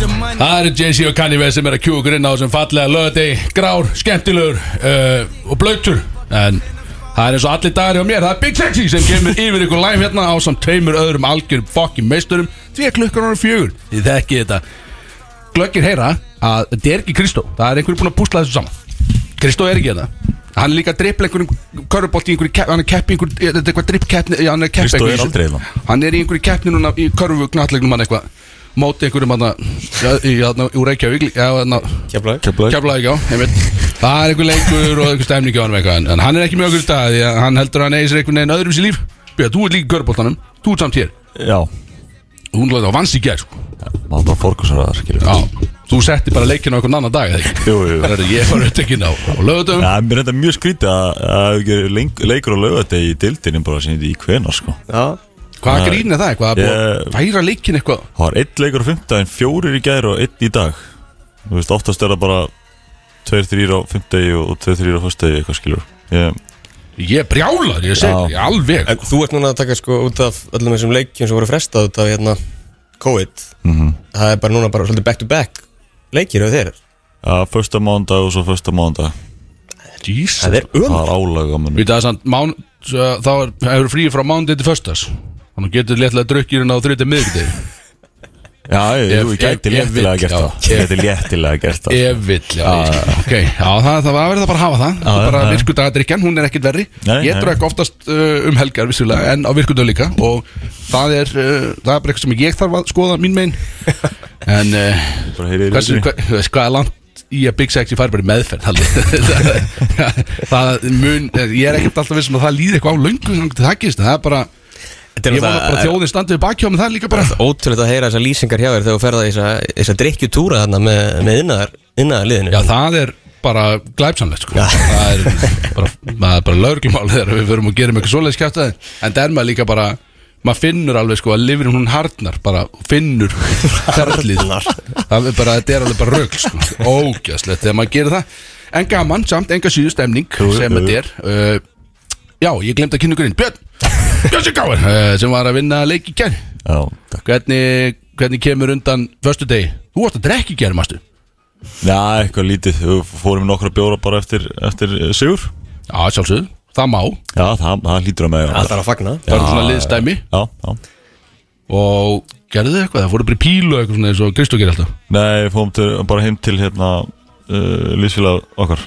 það er Jay-Z og Kanye West sem er að kjú okkur inn á þessum fallega lögadegi Grár, skemmtilegur uh, og blöytur En það er eins og allir dagar hjá mér Það er Big Sexy sem kemur yfir ykkur live hérna Á samt tveimur öðrum algjörum fokkin meisturum Því að klukkan ára fjögur Þið þekki þetta Glöggir heyra að þetta er ekki Kristó Það er einhverjum búin að púsla þessu saman Kristó er ekki þetta Hann er líka að dripla einhverjum körfubolt í einhverju kepp, hann er kepp í einhverju, þetta er eitthvað drippkeppni, já, hann er kepp Kristó einhverju er þessu. aldrei hérna. Hann er í einhverju keppni núna í körfu knallegnum hann eitthvað, móti einhverjum hann úr Reykjavík, já, hann Keflavík. Keflavík. keflaði ekki á, ég veit, það er einhver leikur og einhver stemning á hann eitthvað, en, en hann er ekki með okkur í dag, því að hann heldur að hann eigi sér einhvern veginn öðrum sér líf, Björn, þú ert líka í körfuboltanum, þú ert samt hér, Já, hún lóði á vanns í gær, sko, maður bara fórkursar að það já, þú setti bara leikinu á einhvern annan dag, eða ekki? Jú, jú. Herru, ég var auðvitað ekki ná, á lögutum, Já, mér er þetta mjög skrítið að það er leikur og lögadegi í dildinni bara sem þetta í hvenar sko. Já, hvað grín er það eitthvað, að búa Ég- að færa leikin eitthvað, Það var einn leikur á fymtdaginn, fjórir í gær og einn í dag. Þú veist, oftast er það bara tveir, þrýr á fymtdagi og og tveir, þrýr á fyrstdagi eitthvað skilur. Ég, Ég er brjálar, ég segi, Já. ég alveg en þú ert núna að taka sko út af öllum þessum leikjum sem voru frestað út af hérna COVID Það er bara núna bara svolítið back to back leikir á þeir að fyrsta mándag og svo fyrsta mándag. Jesus. Það er Það ömur var álag á munum. Við það er samt, mán, svo, þá er, hefur frí frá mándið til föstas Þannig getur léttlega drukkirinn á þriðið miðvikudegi Já, ég, Ef- jú, ég gæti ef- ef léttilega vill, gert já. það. Ég gæti léttilega gert það. Ef vill, já, já Ok, já, það, það var verið að bara hafa það Það er bara virku dagadrykjan, hún er ekkit verri Nei, Ég nei. drakk oftast uh, um helgar, vissulega En á virkudöð líka Og það er, uh, það er bara eitthvað sem ég þarf að skoða mín megin En uh, Bara heyrið í hversu, röddinni. hva, þú veist, hvað er langt í að Big Sexy fari bara í meðferð Halli? það, það mun, ég er ekkert alltaf vissum að það líði eitthvað á löngu þannig til það gerist, en það er bara ég vona bara að þjóðin standið baki á með það líka bara Ótrúlega að heyra þessar lýsingar hjá þér þegar þú ferða þess þessar drikkjutúra þarna með, með innaðar, innaðar liðinu já það er bara glæpsamlegt sko. það er bara, maður er bara lögreglumál þegar við förum og gerum eitthvað svoleiðis kjátt en það er maður líka bara maður finnur alveg sko að lifrin hún harnar bara finnur ferlið það er bara, þetta er alveg bara rögl sko. ógjöðslegt þegar maður gerir það en gaman samt, enga síðu stemning Jú, sem jú. þetta er uh, já, ég glemt að kynna ykkur inn Björn, Björn Sigáir uh, sem var að vinna leik í kær Já, takk. hvernig, hvernig kemur undan förstu degi, þú varst að drekki gæri mástu Já, eitthvað lítið. Við fórum í nokkra bjóra bara eftir, eftir eh, sigur. já sjálfsögðu, það má það Já, það, það hlýtur að með Allt þarf að fagna er svona liðstæmi Já, já og gerðu þið eitthvað, það fóru bara í pílu eitthvað svona eins og Kristó gerir alltaf Nei, við fórum til, bara heim til hérna uh, Lýsfélag okkar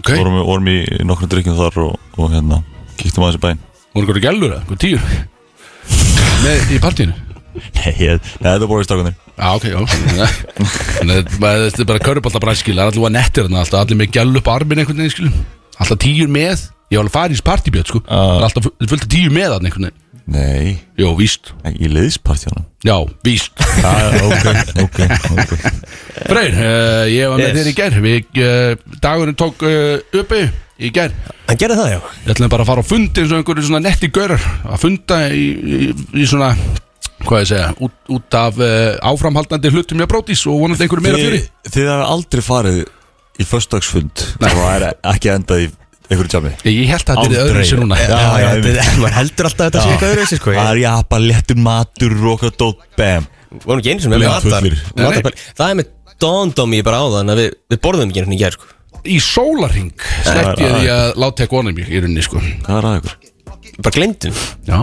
ok, vorum, vorum í nokkrum drikkjum þar og, og hérna Kíktum aðeins í bæinn voru eitthvað gælur eða, eitthvað tíur með í partíinu Nei, ég- nei, þetta voru í stakunir Já, ok, já Þannig að maður- þetta er bara körubaldabræð, skil Það er allir að nettir hann alltaf Allir með gælu upp armin einhvern veginn, skil Alltaf tíur með Ég var alveg farið í þessi partybjöt, sko Það er alltaf fu- fullt af tíur með hann einhvern veginn Nei, Jó, víst ekki í liðspartjónum Já, víst Já, ok, ok, ok Freyr, uh, ég var með Yes. þér í gær Við, uh, Dagurinn tók uh, uppi í gær Hann gerði það já Ég ætlaði bara að fara á fundi eins og einhverju svona netti görar Að funda í, í, í svona Hvað ég segja Út, út af uh, áframhaldandi hlutum ég brótis Og vonandi einhverju meira fjöri Þið, þið hafa aldrei farið í föstagsfund og það er ekki endað í einhverju jammi Ég, ég held að þetta er Aldrei. öðru sér núna Já, já, já, ég þetta- maður heldur alltaf að þetta sé eitthvað öðru þessi sko Það Ég er japa, léttur matur, rokadótt, bam var nú ekki einu sem með Já, matar fullir. matarpæli. Það er með dondom ég bara á þann að við, við borðum ekki einhvern í gær sko Í sólarhing Sleppti ég því að láta ekki vonum í rauninni sko Hvað er að ykkur? Við Bara glemdum Já,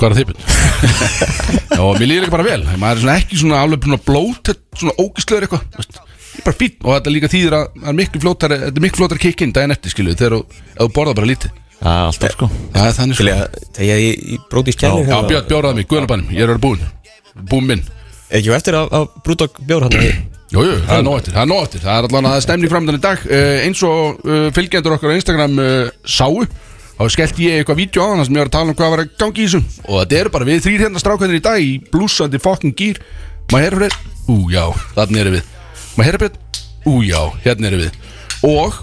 hvað er þippin? Já, mér líður ekki bara vel Maður er svona ekki svona alveg búin að blóta Svona ógislegur eitthvað þú veist. Ég er bara fýtt og þetta líka þýðir að það er miklu flótari Þetta er miklu flótari kikkin daginn eftir skilju Þegar þú- ef þú borðar bara lítið Já, alltaf sko Það er þannig Til sko ég að þegar ég, ég bróti í skjælinu Já, Björn bjóraði mig, Guðnabænum, ég er verið búinn Búinn minn Ekki á eftir að, að brúdokk bjór hann Jú, jú, það er nóg eftir, það er nóg eftir Það er allan að það er stemning framöndan í dag uh, eins og uh, fylgjendur okkar á Instagram uh, sáu þá skellti ég eitthvað vídeo á hann sem ég var að tala um hvað var að gangi í þessum og þetta eru bara við þrýr hérna strákvæðinir í dag í blúsandi fucking gýr maður herra fyrir, ú já, þannig erum við maður herra fyrir, ú já, hérna erum við og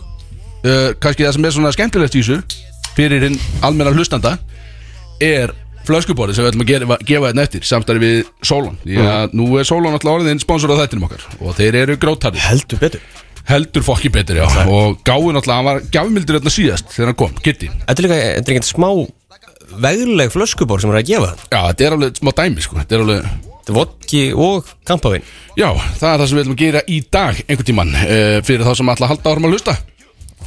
uh, kannski það sem er svona skemmtilegt í þessu fyrir hinn almenna hlustanda er flöskuborðið sem við ætlum að gera, gefa þetta eftir samstarfi við Solon því að nú er Solon alltaf orðin sponsor á þættinum okkar og þeir eru grótarði Heldur betur heldur fokki betur já og gáði náttúrulega, hann var gjafmildur þarna síðast þegar hann kom, Kitty já, Þetta er líka, þetta er ekkert smá vegleg flöskubor sem er að gefa þetta er alveg smá dæmi sko þetta er alveg vodki og kampavín Já, það er það sem við ætlum að gera í dag einhvern tíman uh, fyrir þá sem ætla að halda árum að hlusta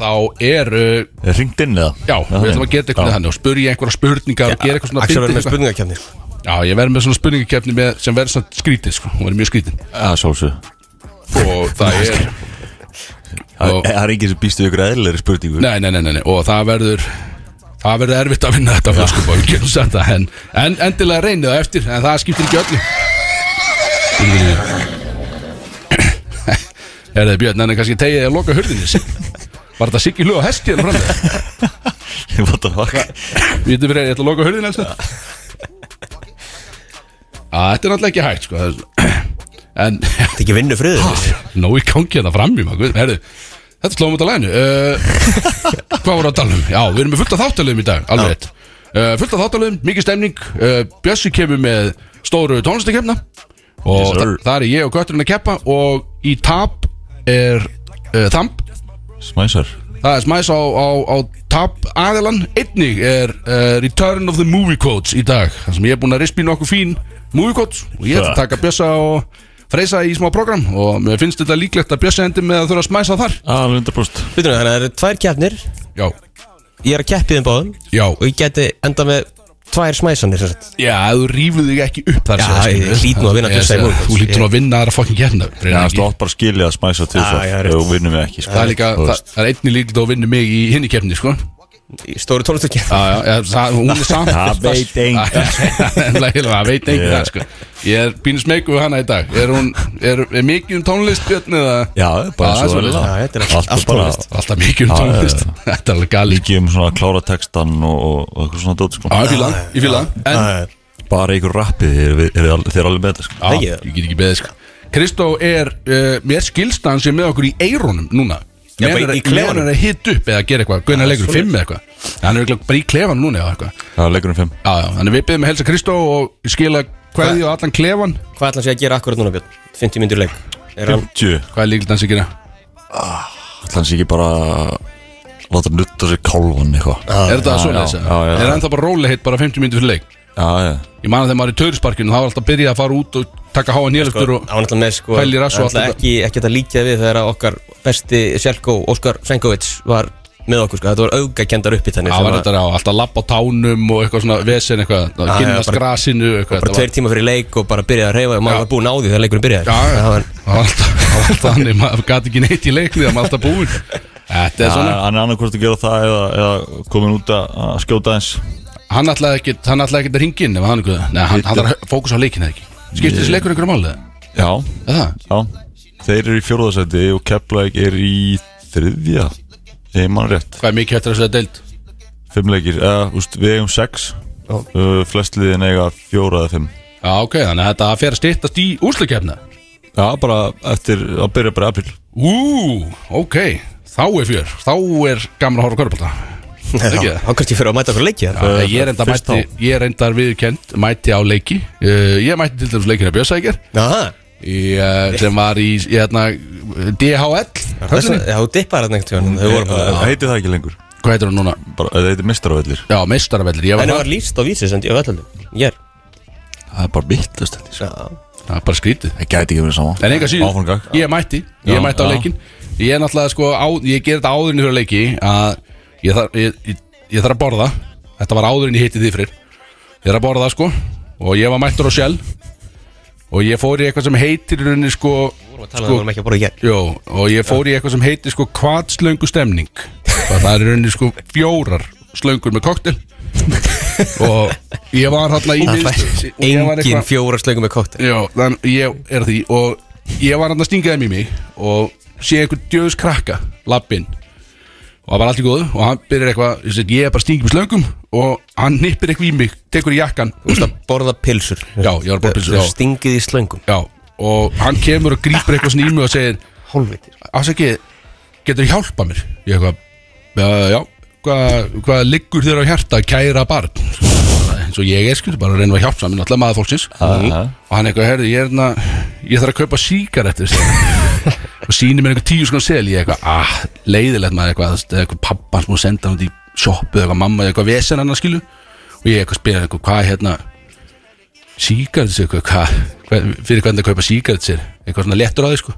þá er, uh, Er ringt inn eða? já, við ætlum að gera eitthvað Já. þannig og spyrja einhverja spurningar og gera eitthvað svona Axel fyndið verður með eitthvað. spurningakefni Já, ég verður með svona spurningakefni með, sem verður svona skrítið, sko, hún verður mjög skrítið Já, sjálfsög og það er, Það Og- það er enginn sem býst við ykkur eðlilegri spurningu nei, nei, nei, nei, nei og það verður það verður erfitt að vinna þetta fyrir, sko, við getum sagt það en, en endilega reynið það eftir, en það skiptir ekki öllu Er það Björn, en er kannski tegið að loka hurðinni Var þetta Siggi Hljóð og Hesti hérna framlega? What the fuck? Við getum verið, ég ætla að loka hurðin elsa Að þetta er náttúrulega ekki hægt sko. það er- En Þetta er ekki vinnu friður Nó í gangi hérna fram í maður guð, Herðu, þetta slóðum út á læginu uh, Hvað voru að tala um? Já, við erum með fullt af þáttalöfum í dag, alveg rétt uh, Fullt af þáttalöfum, mikið stemning uh, Bjössi kemur með stóru tónlistakefna Og Yes, sir. yes, það er ég og kötturinn að keppa Og í tap er uh, Þamp Smæsar Það er smæs á, á, á tap aðilan Einnig er uh, Return of the Movie Quotes í dag Það sem ég er búinn að rispi nokkuð fín Movie Quotes Og ég ætla að taka Bjössa og Freysa í smá program Og mér finnst þetta líklegt að Bjössa endi með að þurfa að smæsa þar Alveg 100% Býtum þannig að það eru tvær kefnir Já, Ég er að keppi þeim báðum já, Og ég geti enda með tvær smæsanir sem sagt. já, ef þú rífur þig ekki upp þar Já, sem það ég skilur. hlýt nú að vinna Ég Bjössa í segi, Movie Quotes. Þú hlýtur nú að vinna þar að fokkin gerna Já, þú átt bara að skilja að smæsa til Já, já, það rétt. Ef hún vinnur mig ekki sko. Það er líka, Þú það veist. það er einnig líklegt að vinna mig í hinni kefni, sko Í stóru tónlistakefni Já, já, já, það, hún er samt Það veit enginn. engin Það veit engin Yeah. það sko Ég er pínu smeyku við hana í dag Er, hún, er, er mikið um tónlist Björn eða Já, Já, það bara er svo vel svoleiðis. það. Já, þetta er allt- Allt allt er bara tónlist. Alltaf mikið um Já, já, já. tónlist Þetta er alveg gali Líkið um svona að klára textan og, og, og eitthvað svona dót sko. Já, ég fíla, ég fíla En Bara ykkur rappið, þið eru alveg með þetta sko. Já, Ekki ég það? get ekki beðið sko Kristó er, uh, mér skilst að hann sem með okkur í eirónum núna Já, Meðan bara er- í meðan klefanum. er að hita upp eða gera eitthvað Guðna leikur fimm eða eitthvað Hann er örugglega bara í klefan núna eða eitthvað Það er leikurinn 5 Já, já, þannig við beðum að helsa Kristó og skila kveði og allan klefan Hvað ætla sé að gera akkurat núna Björn? 50 myndir leik Er hann 50 Hvað er líkilt hans að gera? Þannig sé ekki bara Láta nutta sér kálvan eitthvað er þetta já, svona þess já, já, að? já. Er hann það bara róli bara 50 mínútur fyrir leik? Já, já Ég man að þegar maður er í taurisparkinu þá er alltaf að byrja að fara út og taka háa nýlöftur og Hann var náttúrulega með sko Pæli rass og hann náttúrulega allt ekki, ekki að líka við þegar að okkar besti Sjelko Óskar Sengovits var með okkur sko Þetta var augakendar upp í þannig það var þetta á alltaf lapp á tánum og eitthvað svona vesen eitthvað að Já, kynast já, bara- grasinu eitthvað bara þetta var- tveir tíma fyrir leik og bara byrjaði að reyfa og Já. maður var búinn á því þegar leikurinn byrjaði Já, já. Það var- það var alltaf það var alltaf þannig maður gæti ekki neitt í leikni það maður alltaf búinn þetta er Já, svona Hann er annarkvort að gera það eða, eða komin út að að skjóta eins hann alltaf ekki hann alltaf ekki að ringa inn ef hann eitthvað nei hann hann þarf að fókusa á leikina ekki skiptir þessi leikur einhverju máli Já, eða það já Þeir eru í fjórðasæti og Keflæk er í þriðja Ég man rétt hvað er mikið hættur að segja deild Fimm leikir, eða, úst, við eigum sex Já. uh, Flest liðin eiga fjóra eða fimm já ok þannig að þetta fer að styttast í úrslakefna Já, bara eftir að byrja bara april ú ok þá er fjör þá er gaman að horfa körpulta ekki Já, það Þá kannski fyrir að mæta okkur leiki það Já, ég reyndar fyrst mætti, ég reyndar viðkend mætti á leiki uh, ég mætti til dæmis leikina Björnsækir Já, uh, sem var í, í hérna, DHL þess höllinni. að- já, þú dippar þarna einhvern tíðan Þau voru bara Það heitir það ekki lengur hvað heitir hún núna? bara, Það heitir mistaravellir Já, meistaravellir, ég var En það þar var líst á vísi sendi á völlaldum Ég er Það er bara vittlust þetta sko. Já. það er bara skrítið Það gæti ekki verið saman en enga síður, Áfangak ég mætti ég Já, mætti á já. leikin ég er náttúrulega sko, á, ég ger þetta áðurinn fyrir leiki að ég þarf ég, ég, ég þarf að borða, þetta var áðurinn ég hitti því fyrir ég er að borða sko og ég var mættur á sjálf og ég fór í eitthvað sem heitir í rauninni sko, Talað um að vorum ekki að borða ég Jó, og ég fór í eitthvað sem heitir sko kvatslöngu stemning og það er í rauninni sko fjórar slöngur með koktel og ég var hérna í Það miðstöð- og ég var fær engin eitthvað- fjóra slöngum með kóttir Já, þannig ég er því og ég var hérna að stinga þeim í mig og sé einhvern djöðus krakka lappinn og það var allt í góðu og hann byrjar eitthvað, ég segi, ég er bara að stinga með slöngum og hann nippir eitthvað í mig, tekur í jakkan Þú veist að borða pilsur Já, ég var að borða pylsur, Þau já. stingið í slöngum Já, og hann kemur og grípur eitthvað svona í mig og segir Hólvitir afsaki, getur þú hjálpa mér? Ég eitthvað, uh, já, hvað hva liggur þér á hjarta kæra barn? Bara eins og ég er skur, bara að reyna að hjálpa mér, náttúrulega maður fólksins Aha. og hann eitthvað, herði, ég er hérna ég þarf að kaupa síkarettir segir hann. og sýnir mér einhver tíu skon sel ég eitthvað, ah, leiðilegt maður eitthvað, þú veist, eitthvað pappa sem hún senda hann út í sjoppu, eitthvað mamma, eitthvað vesen hann að skilu og ég eitthvað spyrir eitthvað, hvað hérna síkart sér, hvað, hvað, fyrir hvernig að kaupa síkart sér, eitthvað svona lettur á því sko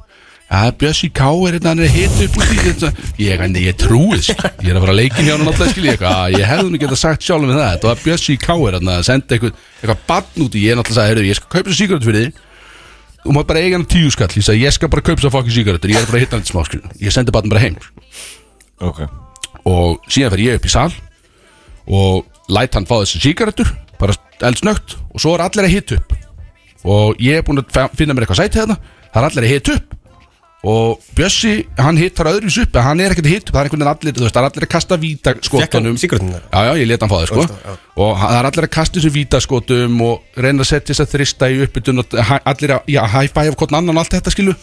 Já, Bjössi Ká er hérna, hann er hitt upp út í þetta Ég, en ég trúið, sko. ég er að fara að leikin hjá hann alltaf, skil ég eitthvað "Ah, Ég hefði nú getað sagt sjálf með það, þetta var Bjössi Ká er hérna, að senda eitthvað, eitthvað bann út í Ég er náttúrulega að sagði, heyrðu, ég skal kaupa þessu síkart fyrir þig Þú mátt bara eiga hann tíu skall, ég sagði, ég skal bara kaupa þessu fokkin síkart Ég er bara að hitta hann til smá, skil Ég sendi bann bara heim, sko Ok og síðan fer ég upp í sal og læt hann fá þessi sígarettur bara eldsnögt og svo er allir að hita upp og ég er búinn að fe- finna mér eitthvað sæti hérna það er allir að hita upp og Bjössi, hann hittar öðru upp en hann er ekkert að hita upp, það er einhvern veginn allir þú veist, það er allir að kasta víta Fekk hann skotunum sígaretturnar? Já, já, ég leta hann fá það sko Veist það, Og hann- það er allir að kasta þessu vítaskotum Og reyna að setja þess að þrista í uppbytun og hæ- Allir að, já, hæfa af hvort annan og Allt þetta skilu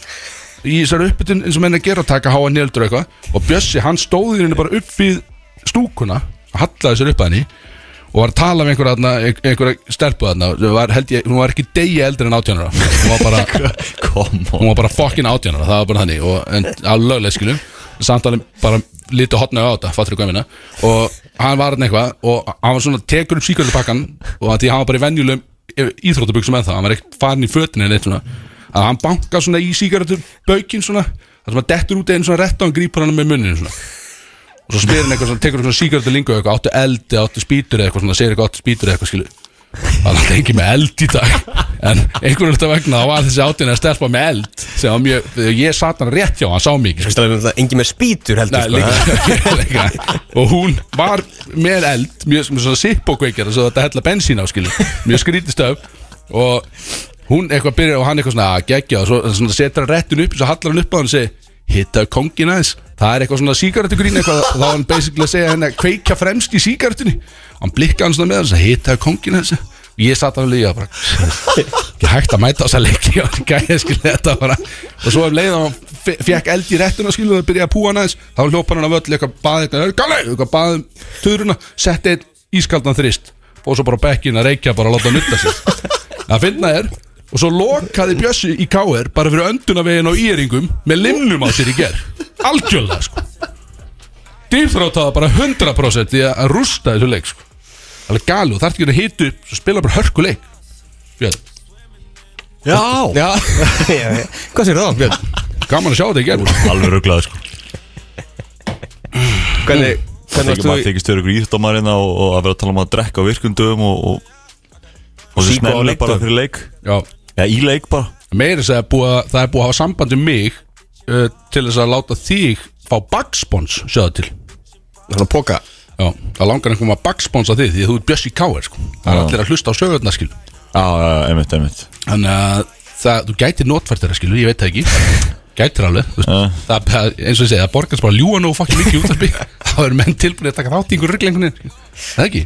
Í þessari uppbytun eins og menn að gera að taka háa néldur og eitthvað Og Bjössi, hann stóði henni bara upp við Stúkuna, hallaði sér upp að henni Og var að tala með einhverja, þarna- ein- einhverja stelpu þarna Hún var, held ég, hún var ekki degi eldri en átjánara Hún var bara Come on hún var bara fokkin átjánara, það var bara þannig og, en alveg löglega skilum samtalið bara litu hotna á þetta, fattur þú hvað ég minna og hann var hann eitthvað og hann var svona, tekur upp síkvöldupakkan og því hann var bara í venjulegum eh, íþróttabuxum en það, hann var ekkert farin í fötinu en eitt svona, að hann bankar svona í síkvöldubaukin svona, það sem að dettur út einn svona rett og hann grípar hann með munninu svona og svo spyr hann eitthvað, svona, tekur hann svona sígarettu lingu eitthvað, áttu eldi, áttu spýtur eða eitthvað svona, segir eitthvað, áttu spýtur eða eitthvað, skilu það er alltaf engin með eld í dag en einhvern veginn vegna þá var þessi átjörn að stelpa með eld sem var mjög, ég sat hann rétt hjá, hann sá mig ekki, Þú sko. veist það er engin með spýtur heldur sko. Nei, líka, líka. og hún var með eld mjög mjög svona sippokveikjara svo þetta hella bensín á, skilu, mjög skrítist af og hún eitthvað byrjar og hann eitthvað svona að gegja og svo, svona setur hann réttin upp, svo hallar hann upp á hann og segir hitta kongin aðeins, það er eitthvað svona sígarettugrín eitthvað, þá var hann basically að segja henni að kveikja fremst í sígarettunni hann blikkaði hann svona með hann, hitta kongin aðeins og ég satt hann líka bara ekki hægt að mæta á þessa leiki og gæja skilja þetta bara og svo ef leiðan hann fe- fekk eld í réttuna skilja það byrjaði að púa hann aðeins, þá hljópa hann af öll eitthvað baði eitthvað, galei, eitthvað baði um töruna, setti einn ískaldan þrist og svo bara á bekkinn að reykja bara að láta hann nutta sig að finna þér og svo lokaði Bjössi í K.R. bara fyrir öndunavegin á íringum með limnum á sér í ger algjörlega sko dýrþrótaða bara 100% í að rústa þessu leik sko alveg gali og þarf ekki að hitu upp svo spila bara hörkuleik Björn Já Já, já, já. hvað sér það, Björn? Gaman að sjá þetta í gerð Alveg rugglaði sko Það Hvernig, hvernig ekki maður varstu þykist örugur íþjóttamarina og, og að vera að tala um að drekka á virkundum og, og, og Síku á snemma bara leikdögum. fyrir leik Já, Já, í leik bara meira þess að búa, það er búið að hafa samband um mig uh, til þess að láta þig fá bagspons sjáðu til svona póka? Já, það langar einhverjum að bagsponsa þig því að þú ert Bjössi Káir sko Það er Já. allir að hlusta á sögurnar skil Já, já, einmitt, einmitt Þannig að það, þú gætir notfært þeirra skilur, ég veit það ekki Gætir alveg, þú Já. veist það, það- eins og ég segi, það borgast bara að ljúa nóg fokkin mikið út af mig Það eru menn tilbúinir að taka þátt í einhver rugglengunin Það ekki,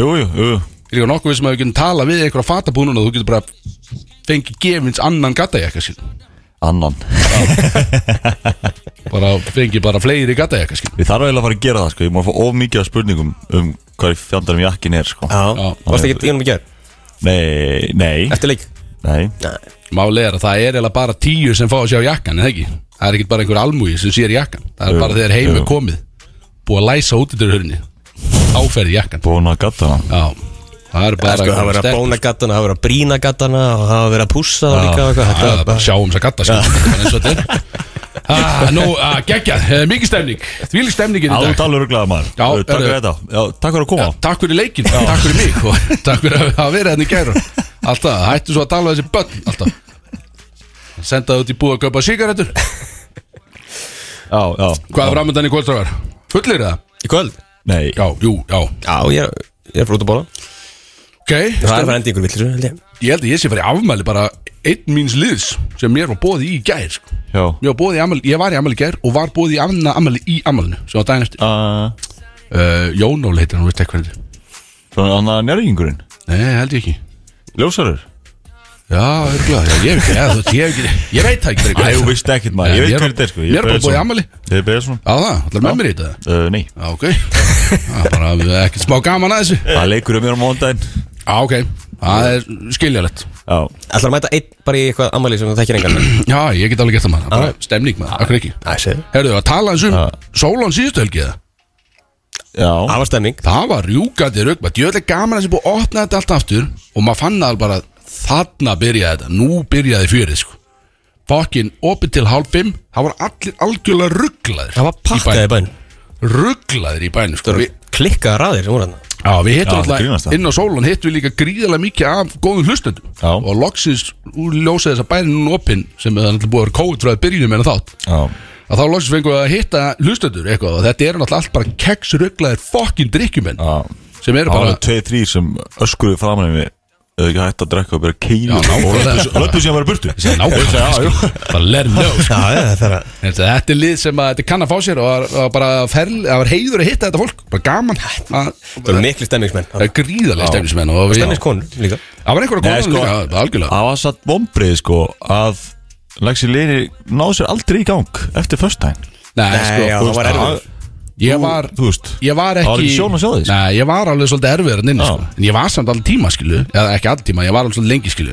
Jú, jú, jú jú. ég er líka nokkuð við sem að við getum tala við einhverja fatabúnuna og þú getur bara fengið gefins annan gata ég ekki Annan bara fengi bara fleiri gatajakka skil Ég þarf eiginlega að fara að gera það sko Ég má fá of mikið af spurningum um hvað í fjandarum jakkin er sko Já Já. Varstu ekki í honum í gerð? Nei, nei, Eftir leik? nei Máli er að það er eiginlega bara tíu sem fá að sjá jakkan, eða ekki? Það er ekkert bara einhver almúi sem sér jakkan Það er Jú, bara þegar heim jú. er komið Búið að læsa út í dörrhörni Áferði jakkan Búin að gata hana Já, það er bara Sko, það var að sterkur- bóna gattana, það var að brína gattana og það var að vera að pússa það líka og eitthvað Þetta Það var er bara bara að sjá um þess að gatta skil Það er eins og þetta er Ah, Nú, ah, geggjað, eh, mikið stemning Þvílík stemningin í Alveg dag alveg rugglaði maður Já, Uh, Takk fyrir herru. þetta Já, Takk fyrir að koma Takk fyrir leikin, takk fyrir mig og Takk fyrir að hafa verið henni gæra Alltaf, hættu svo að tala við þessi börn Alltaf Sendaði út í búið að kaupa sigarettur Já, já Hvað er framöndan í kvöldstrákar? Fullir það? í kvöld Nei Já, jú, já Já, ég er, ég er frá út að bóla Ok, Það er að fara endi ykkur villir, held ég ég held að ég sé fyrir afmæli bara einn míns liðs sem mér var bóði í í gær sko. Já Mér var bóði í afmæli, ég var í afmæli í gær og var bóði í annað afmæli í afmælinu sem var daginn eftir Uh, uh, Jónól heitir hann, veist ekki hvað þetta er. Svona annað njörgingurinn Nei, held ég ekki Ljósarur Já, örgulega, já, ég, hef ekki, já, þú veist, ég, hef ekki, ég veit það ekki Æ, fyrir þú veist ekkert maður, Nei, ég veit mér- hvernig þetta er sko Ég mér er bara Böðvarsson. búið í afmæli. Ég er Beðarsson Já það, allar með mér í þetta uh, Nei, Já, ok Já, bara við ekkert smá gaman að þessu það leikur um mér á móndaginn Já, ok, það er skiljalegt Já, Ætlar að mæta einn bara í eitthvað ammali sem þú þekkir engan Já, ég get alveg gert það maður, bara stemning maður, akkur ekki Æ, segðu Herðu, að tala eins um Já. Sólón síðustu helgi eða? já Það var stemning Það var rjúkandi rögma Djöðlega gaman að þessi búið að opna þetta allt aftur Og maður fann það bara þarna byrjaði þetta, nú byrjaði fjörið sko Fokkin opið til hálf 5 Það var allir algjörlega rugglaðir Það var pakkaði bæn Rugglaðir í bænum sko Það Við- voru klikkaðar aðeir sem voru hann Já, við hittum Já, það grínast alltaf það. inn á sólan hittum við líka gríðarlega mikið af góðum hlustendum Já. og loksins úr ljósið þess að bærin núna opinn sem það er náttúrulega búið að vera kóð frá að byrjunum en þátt Já, að þá loksins fengum við að hitta hlustendur eitthvað og þetta eru náttúrulega allt bara keksruglaðir fokkin drikkjumenn já sem eru Það bara var tveið þrýr sem öskuðu framan í mig Eða ekki hægt að drekka og byrja að keila Já, nákvæmlega. Og löppu- löppu sem var í burtu Ég segi, nákvæmlega, Já, já, skilur. bara let him know sko. Já, já, það er að En Þetta er lið sem að þetta kann að fá sér og það var- það var bara ferl, það var heiður að hitta þetta fólk bara gaman að- Það voru miklu stemmingsmenn það er gríðarlega stefnismenn og við- Stemmingskonur líka það var einhverja sko. Nei, konan sko- líka það var algjörlega Það var satt vombrið sko Að Lexi Leiri náðu sér aldrei í gang Eftir föstudaginn Nei, Nei, já, sko, það var erfiður ég var Þú veist ég var Það var ekki ekki sjón að sjá því, sko. Nei, ég var alveg svolítið erfiður en inni Já. sko. En ég var samt alveg tíma skilu Eða ekki alveg tíma, ég var alveg svolítið lengi skilu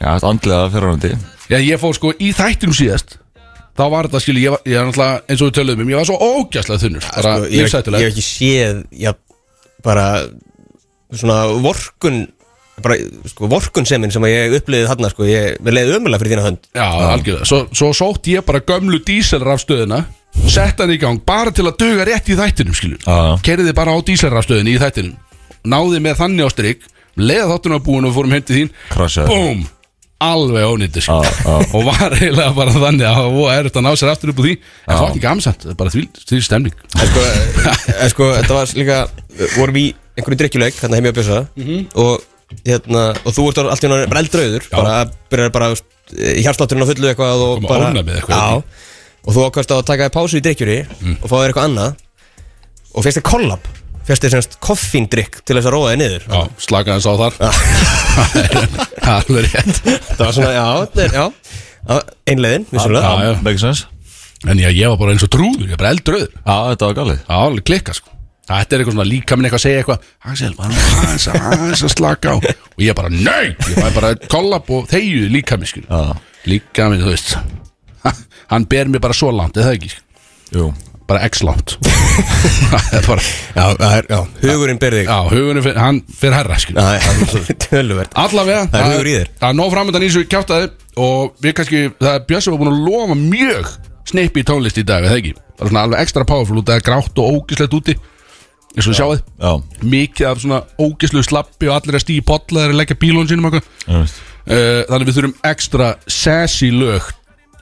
Já, þetta andlega fyrirhandi Já, ég fór sko í þættinum síðast Þá var þetta skilu, ég var, ég var náttúrulega eins og við töluðum um Ég var svo ógæslega þunnur Bara Sko, Ég hef- ég lífsættulega hef ekki séð já, bara svona vorkun bara, sko, vorkun semin sem að ég upplýði þarna sko, ég, mér leiði ömulega fyrir þína hönd Já, algjörlega Svo, svo sótt ég bara gömlu díselrafstöðina Sett hann í gang bara til að duga rétt í þættinum skilu Já. Kerði bara á díselrafstöðinu í þættinum Náði með þannig á strik Leða þáttunum að búin og við fórum heim til þín Krasjaði. Búm Alveg ónýttu skilu Já, já. Og var eiginlega bara þannig að það er þetta að ná sér aftur upp úr því En fokkin gamsamt, bara því, því stemning en sko, en sko þetta var líka vorum í einhverju drikkjuleik hérna heim í að bjösa og, hérna, og þú ert alltaf hérna bara eldrauður bara byrjar bara hjarslátturinn á fullu eitthvað og Koma bara ónæmið eitthvað, ekki? já, og þú ákvæmst á að taka þér pásu í drikkjuri og fá þér eitthvað annað og fyrst þér kollab fyrst þér semst koffindrykk til þess að róa þér niður Já, slakaði hans á þar Það er alveg rétt Það var svona, já, þetta er- já Já, Einleiðin, vissulega Já, já. Make sense En já, ég var bara eins og trúður, ég var bara eldrauður Já, þetta var galið Það var alveg klikka sko Þetta er eitthvað svona líka minn eitthvað að segja eitthvað Axel, var hann aðeins að, aðeins að slaka á Og ég bara, nei, ég var bara að kollab og þeyju líka minn skil Já. Líka minn, þú veist Ha, Hann ber mér bara svo langt, eða ekki skilur. Jú Bara x langt Það er bara, Já, það er, já Hugurinn ber þig já, hugunum, fer, hann fyrir herra skil Já, já, Töluvert Allavega Það er hugur í þér. Það er nóg framöndan í þessu kjátaði Og við kannski Það er Björn sem var búin að lofa mjög Sneipi í tónlist í dag, eða ekki Það er svona alveg ekstra powerful út af grátt og ógislegt úti Eins og við sjáum þið Já, Mikið af svona ógislu slappi og allir að stíði potlaðar að leggja bílón sínum okkur uh, ég veist Þannig við þurfum ekstra sassy lög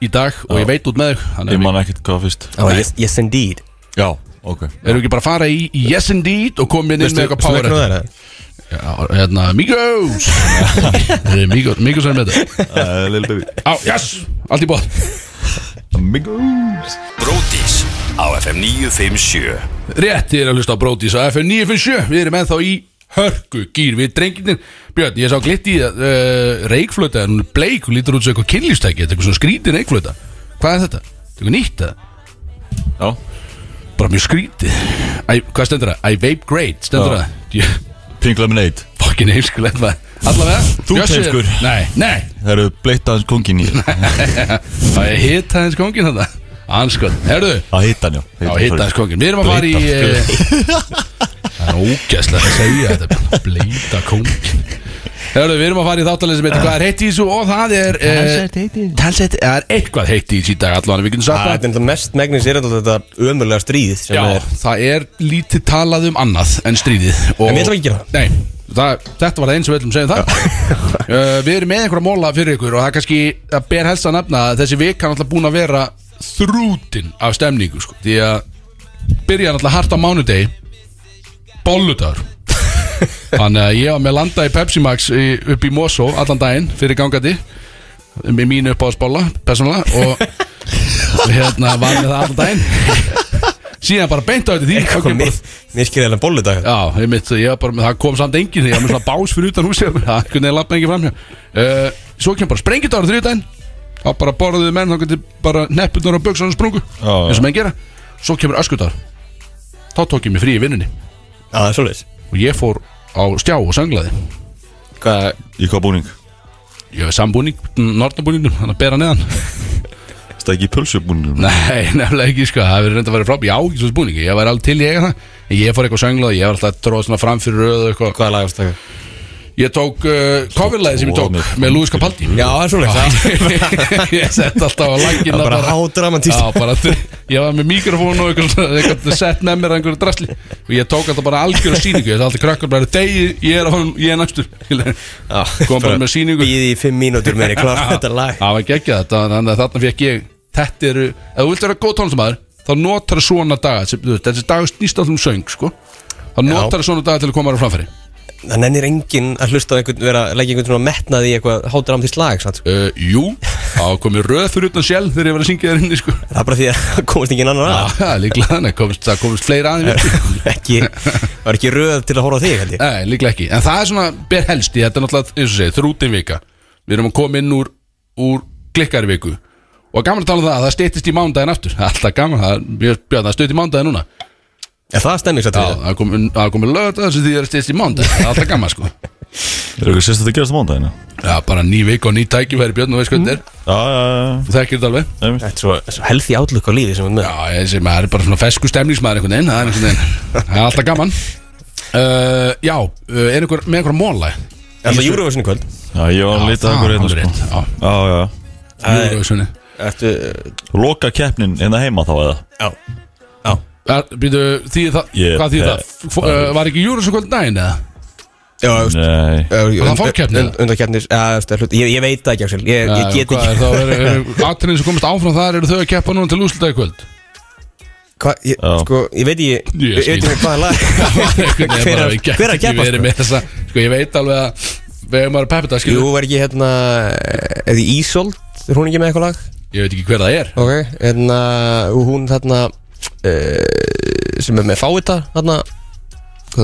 í dag Og ég veit út með þau Ég Þannig að man ekkert hvað fyrst Já, yes, yes indeed Já, ok við erum ekki bara að fara í Yes Indeed Og komin inn með eitthvað power það er Já, hérna, Migos Migos, Migos er með þetta Uh, Little baby Á, yes, allt í bóð Amigos Brótis á FM 957 Rétt, þið er að hlusta á Brótis á FM 957 Við erum ennþá í hörku gýr við drengirnir Björn, ég sá glitt í að uh, reikflöta en hún er bleik og lítur út sem eitthvað kynlýstæki Þetta er eitthvað svona skrítin reikflöta Hvað er þetta? Þetta er eitthvað nýtt eða? Já Bara mjög skrítið Æ, Hvað stendur það? I vape great, stendur Já. það? Pink Lemonade Fokkin heimskulegt maður Allavega Þú Bjössi er- heimskur. Nei, nei Það eru bleitt aðeins kongin í Það er hitta hans kongin þetta Anskot, herðu Að hitta hann, já Já, hitta sko. hans kongin Við erum að fara í eh, Það er ógæslega að segja þetta Bleita kongin Hörru, við erum að fara í þáttalega sem heitir Hvað er heitt í þessu og það er Talsett heitt í Talsett, það er eitthvað heitt í þessu í dag allan Við getum sagt Þetta það er náttúrulega mest megnis er þetta ömulega stríð sem Já, er það er lítið talað um annað en stríðið og En við ætlum ekki að gera Nei, það, þetta var það eins og við ætlum að segja um það uh, Við erum með einhverja móla fyrir ykkur og það er kannski að ber helst að nefna að þessi vika er alltaf búin að vera þrútin af stemningu sko. því að byrja alltaf hart á mánudegi bolludagur Þannig að ég var með landa í Pepsi Max í, upp í Mosó allan daginn fyrir gangandi með mínu uppáðsbolla, persónulega og hérna var með það allan daginn síðan bara beint á þetta því þá kemur bara- Mér skilði hérna bollu dag Já, ég mitt, ég var bara, með- það kom samt enginn Ég var með svona bás fyrir utan húsi Það er hvernig að lappa enginn framhjá uh, Svo kem bara sprengidára þriðdæn Það bara borðuðu menn, þá geti bara neppunar á buksanum sprungu Já, já. eins og menn gera Svo kemur öskudar Þá tók ég mig frí í vinnunni Já, það er svolítið Og ég fór á stjá og sönglaði Hvað, Í hvað búning? Ég hef sambúning, nortnabúningnum, þannig að bera neðan Stækki í pulsubúningum Nei, nefnilega ekki sko, það hefur reynda að vera frábæð Ég á ekki svo spúningi, ég væri alveg til ég það En ég fór eitthvað sönglað, ég var alltaf tróð svona fram fyrir röð og eitthvað hvað lagast það? Ég tók uh, coverlæði sem ég tók Vonir. með Lúis Capaldi Já, það er svoleiks Ég sett alltaf á Það langina er bara hádramatískt. Já, bara Ég var með mikrofón og eitthvað eitthvað sett með mér að einhverju drasli og ég tók alltaf bara algjör sýningu Ég sett alltaf krakkar bara degi, ég er, á honum, ég er næstur Kom bara með sýningu Býði í fimm mínútur með henni klára þetta lag Það var geggjað þetta Þannig að þarna fekk ég Þetta eru Ef þú vilt vera góð tónlistamæður Þá notar það svona daga sem, þú veist, Þessi dag snýst allum söng sko Þá notar það svona daga til að koma þér á framfæri Það nennir enginn að hlusta á einhvern vera að leggja einhvern svona metnað í sko. eitthvað hádramatískt lag sant? uh, Jú Þá kom ég röð fyrir utan sjálf Þegar ég var að syngja þér inni sko Það er bara því að það komast enginn annar að Já, líklega þannig komst, Það komist fleira aðeins ekki, Var ekki röð til að horfa á þig held ég Nei, líklega ekki En það er svona ber helst í Þetta er náttúrulega, eins og segið, þrútin vika Við erum að koma inn úr, úr klikkari viku Og gaman að tala um það að það steytist í mándaginn aftur Alltaf gaman, það, ég, björn, það steytist í mándaginn núna En það stemmi satt Já, það kom- það er komið lögðar sem því er styrst í mándag Það er alltaf gaman sko Er eitthvað sérst að þetta gerast á mándagina? Já, bara ný vik og ný tækifæri Björn og veist hvað þetta er Já, já, já, Þú þekkir þetta alveg já einmitt. Þetta er svo, svo helði átlöku á lífi sem við erum með Já, ég sé, maður er bara svona fesku stemningsmaður einhvern veginn Það er einhvern veginn Það er alltaf gaman uh, Já, uh, er einhver með einhver móla? Er það Eurovision í kvöld? Já, ég var að Já, leita það að einhver er hérna rétt, já. sko. Já, já, já Eurovision Ertu, Loka keppnin hérna heima þá eða já Já Býtu, því það, Ég- hvað því eh, það? F- Uh, var ekki Eurovision kvöld daginn eða? Já, þú veist, Nei það fórkeppni, eða? Undarkeppnir, já, þú veist, það er hlut- ég, ég veit það ekki Axel, ég, ég get Hvað er það? ekki Er, Atriðin sem komist áfram þar eru þau að keppa núna til úslitaði kvöld Hva, ég, Já. sko, ég veit ekki Ég Ég veit skil. ekki hvað lag Hver er- hver er að keppa, sko? sko? Með þessa, sko ég veit alveg að Við hefum maður peppið það Jú, skilur var ekki hérna Eði Ísold, er hún ekki með eitthvað lag? Ég veit ekki hver það er Ok, hérna, hún þarna uh, Sem er með fáita Þarna,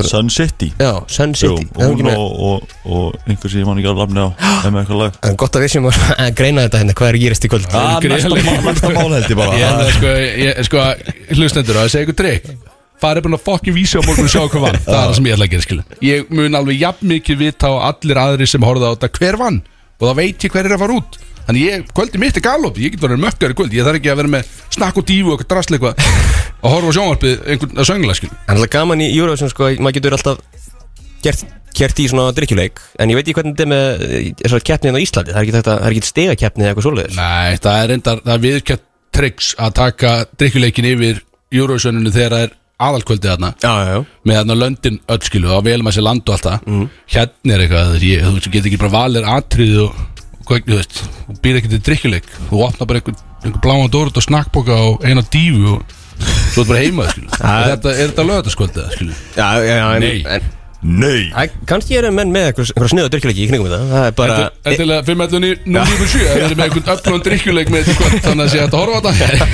Sun City já, Sun Jú, City er hún hún ekki með og, og, og einhver sem ég man ekki að lafna á er með eitthvað lag En gott að við séum að að greina þetta hérna, hvað er að gerast í kvöld Ah, næsta greiðlega. mál- Næsta mál held ég Ég held bara að sko, ég, sko hlustendur á að segja ykkur drikk farið bara að fokkin vísi á morgun og sjá hvað vann það er það sem ég ætla að gera skilu ég mun alveg jafn mikið vita á allir aðri sem horfða á þetta hver vann og þá veit ég hver er að fara út þannig ég, kvöldi mitt er galop ég get verið mökkar í kvöld, ég þarf ekki að vera með snakk og dífu og eitthvað drasl eitthvað að horfa á sjónvarpið einhvern að söngla skilu En alltaf gaman í Eurovision sko, maður getur alltaf gert, gert í svona drikkjuleik En ég veit ekki hvernig þetta er með eh, þessar keppnið á Íslandi Það er ekki, þetta, það er ekki stega keppnið eða eitthvað svoleiðis Nei, það er reyndar, það er viðurkjönt triks að taka drikkjuleikin yfir Eurovisioninu þegar það er aðalkvöldið þarna Já, já, já með þarna löndin öll skilu þá velum að sér land og allt það Mm. hérna er eitthvað, þú veist, ég, þú get ekki bara valir atrið og, og hvað, þú veist og býr ekki til drikkjuleik, þú opna bara einhver, einhver bláan dórut og snakkboka og eina dífu og svo er bara heima skilu er þetta, er þetta lögataskvöldið skilu Já, já, já, en, Nei. en Nei Æ, kannski eru menn með eitthvað, eitthvað sniða drikkjuleiki í knygum þetta Það er bara Endilega 5.11.9 09.7 ef við erum með einhvern öflun drikkjuleik með þetta kvöld þannig að sé hægt að horfa á þetta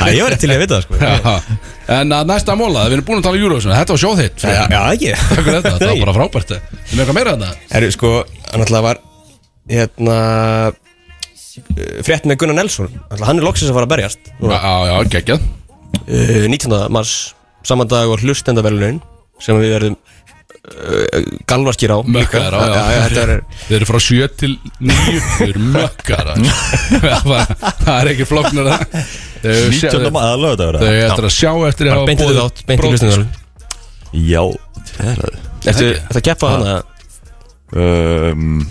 Æ, Ég var til í að vita það sko Já, en að næsta móla, við erum búin að tala um Eurovision Þetta var sjóð þitt fyrir- Já, ekki Takk fyrir þetta, þetta var bara frábært Við með eitthvað meira þetta Herru, sko, hann alltaf var Hérna eh, Frétt með Gunnar Nelson Alltaf hann er loksins að fara að berjast uh, Já, já, geggjað 19. mars Saman dag og hlustendavelunin Sem við verðum uh, Galvaskir á Mökkaðir á, líka. já. já, já Þetta er Við erum frá 7 til 9 Við erum mökkar Það var- það er ekki flóknar það Þau 19. sjá- maður að lögða þau þetta eftir að sjá eftir að bara beintið boðið við átt Beintið brot- hlustendavelun Já, það er það Ertu ertu að keppa hann að Um,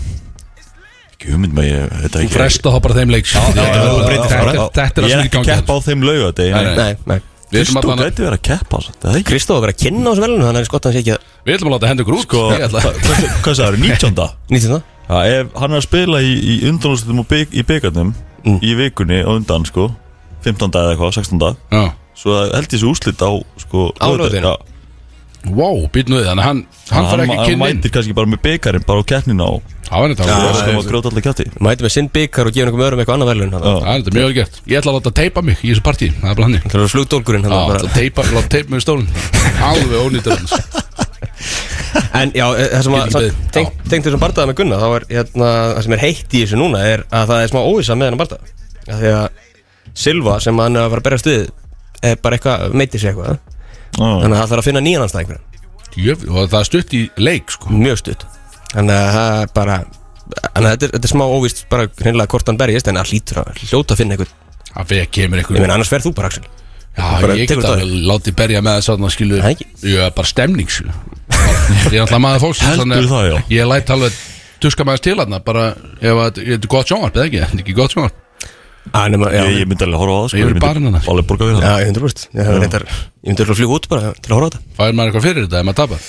ekki hugmynd með ég þetta Þú ekki fresta þá bara þeim leik já, já, já, já. Þetta þetta er að svona Ég er í ekki að gangi hérna. keppa á þeim laugadegi Nei, nei. nei. Nei, nei Við ætlum Kristó allan að- gæti verið að keppa samt, það er ekki Kristó var að kynna á þessu velunum Þannig að skotta hans ekki að við ætlum að láta hendur grút sko, hvað- Hvað sagður, 19. 19. Já, ef hann er að spila í, í undanústum og bygg, í byggarnum Mm. í vikunni og undan sko 15. eða eitthvað, 16. svo það held ég svo úslit á sko, Á laugardaginn. Já. laugardaginn. Wow, býtnum við Þannig að hann Hann fær ekki ma- kynni inn mætir kannski bara með byggarinn bara á keppnina og Það var þetta það alveg- skal maður grjóta allir kjátti Mætum við sinn byggar og gefum einhverjum öðrum eitthvað annað verðlun Já. Það Það er þetta mjög vel gert Ég ætla að láta teipa mig í þessu partí Það er bara hannig er flugdólkurinn Já, hann bara... bara- teipa, látt teipa með stólinn Alveg sko. ónýttur hans En já, eh, það sem Get að ekki samt beðið. tengt- tengt þessum bardaða með Gunna þá er hérna, það sem er heitt í þessu núna er að það er smá óvisa með hennar bardaða Af Því að Silva sem hann er að fara að berja stuðið er bara eitthvað, meitir sig eitthvað Já. Þannig að það þarf að finna nýjan anstæð einhverjum Jöf, Og það er stutt í leik sko Mjög stutt Þannig að það er bara Þannig að þetta er, þetta er smá óvist bara hreinlega hvort hann berjist en að hlýtur að hljóta að finna einhvern Það fyrir kemur Ég einhver meina annars verð þú bara Axel Já, bara ég tekur get þetta að láti berja með þess að skilu Það ekki. Ég er bara stemning skilu Bara Ég er alltaf maður fólks Heldur það, já. Ég læt alveg tuska maður til hérna Bara ef að þetta þetta er gott sjónvarp eða ekki Þetta er ekki gott sjónvarp Að nema, já, Ég, ég myndi alveg horfa á það sko, Ég er myndi barinn hennar. Alveg borga við já, það ég hundur brúst Ég hef reyndar, ég myndi örugglega að fljúga út bara til að horfa á þetta Fær maður eitthvað fyrir þetta ef maður tapar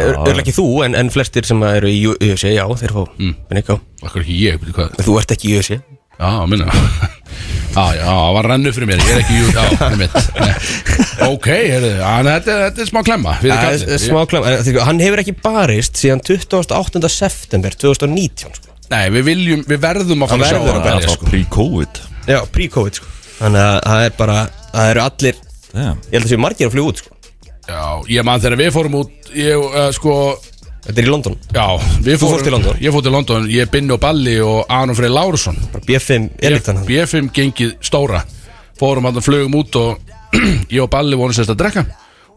Örlega Eh, ekki þú, en, en flestir sem eru í U- UFC, já, þeir fá mm. Ekki, á. Akkur ekki ég, veitir hvað Þú ert ekki í UFC Já, minna Já, já, það var rannu fyrir mér Ég er ekki jú, já, fyrir mitt Ok, heyrðu, já, þetta, er- þetta er smá klemma Fyrir Það er- kallinn. er eh, Smá klam, en, því, hann hefur ekki barist síðan 28. september 2019 sko. Nei, við viljum, við verðum að Það fara að sjá verður að hann berjast. berjast. Það var pre-covid Já, pre-covid sko. Þannig að það er bara, það eru allir Ég Damn. held að séu margir að fljúga út sko. Já, ég man þegar við fórum út Ég, uh, sko, Þetta er í London, já Þú fórst til London? Ég fór til London, ég binni og balli og Aron Frey Lárusson bara B5 elitan hann B5 gengið stóra Fórum hann og flögum út og Ég og Balli vorum sérst að drekka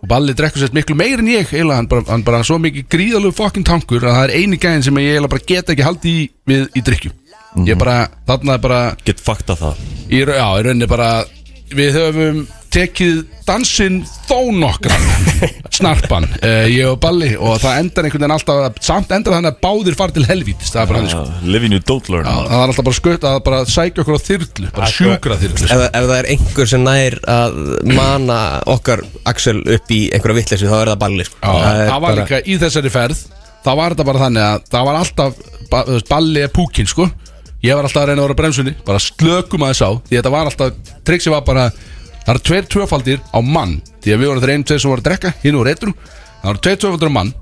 Og Balli drekkur sérst miklu meir en ég eiginlega, hann, bara, hann bara svo mikið gríðalegu fokkin tankur Að það er eini gæðin sem ég eiginlega bara get ekki haldið í Við í drikkjum Ég bara, þarna er bara Get fakta það í, ra- Já, í rauninni bara Við höfum tekið dansinn þó nokkran Snarpan, uh, ég og Balli Og það endar einhvern veginn alltaf að- Samt endar þannig að báðir far til helvítist Það er bara hann sko Uh, Living you don't learn Já, það er alltaf bara skutt að bara sækja okkur á þyrlu bara sjúkra þyrlu sko. ef, ef það er einhver sem nær að mana okkar Axel upp í einhverja vitleysu þá er það balli sko. það, er það var líka í þessari ferð það var þetta bara þannig að það var alltaf ba- þú veist, balli er púkin sko ég var alltaf að reyna að vera á bremsunni bara slökum aðeins á því þetta var alltaf triksi var bara það eru tveir tvöfaldir á mann því að við vorum þeir einu tveir sem voru að drekka hinn voru reytur það eru tveir tvöfaldir á mann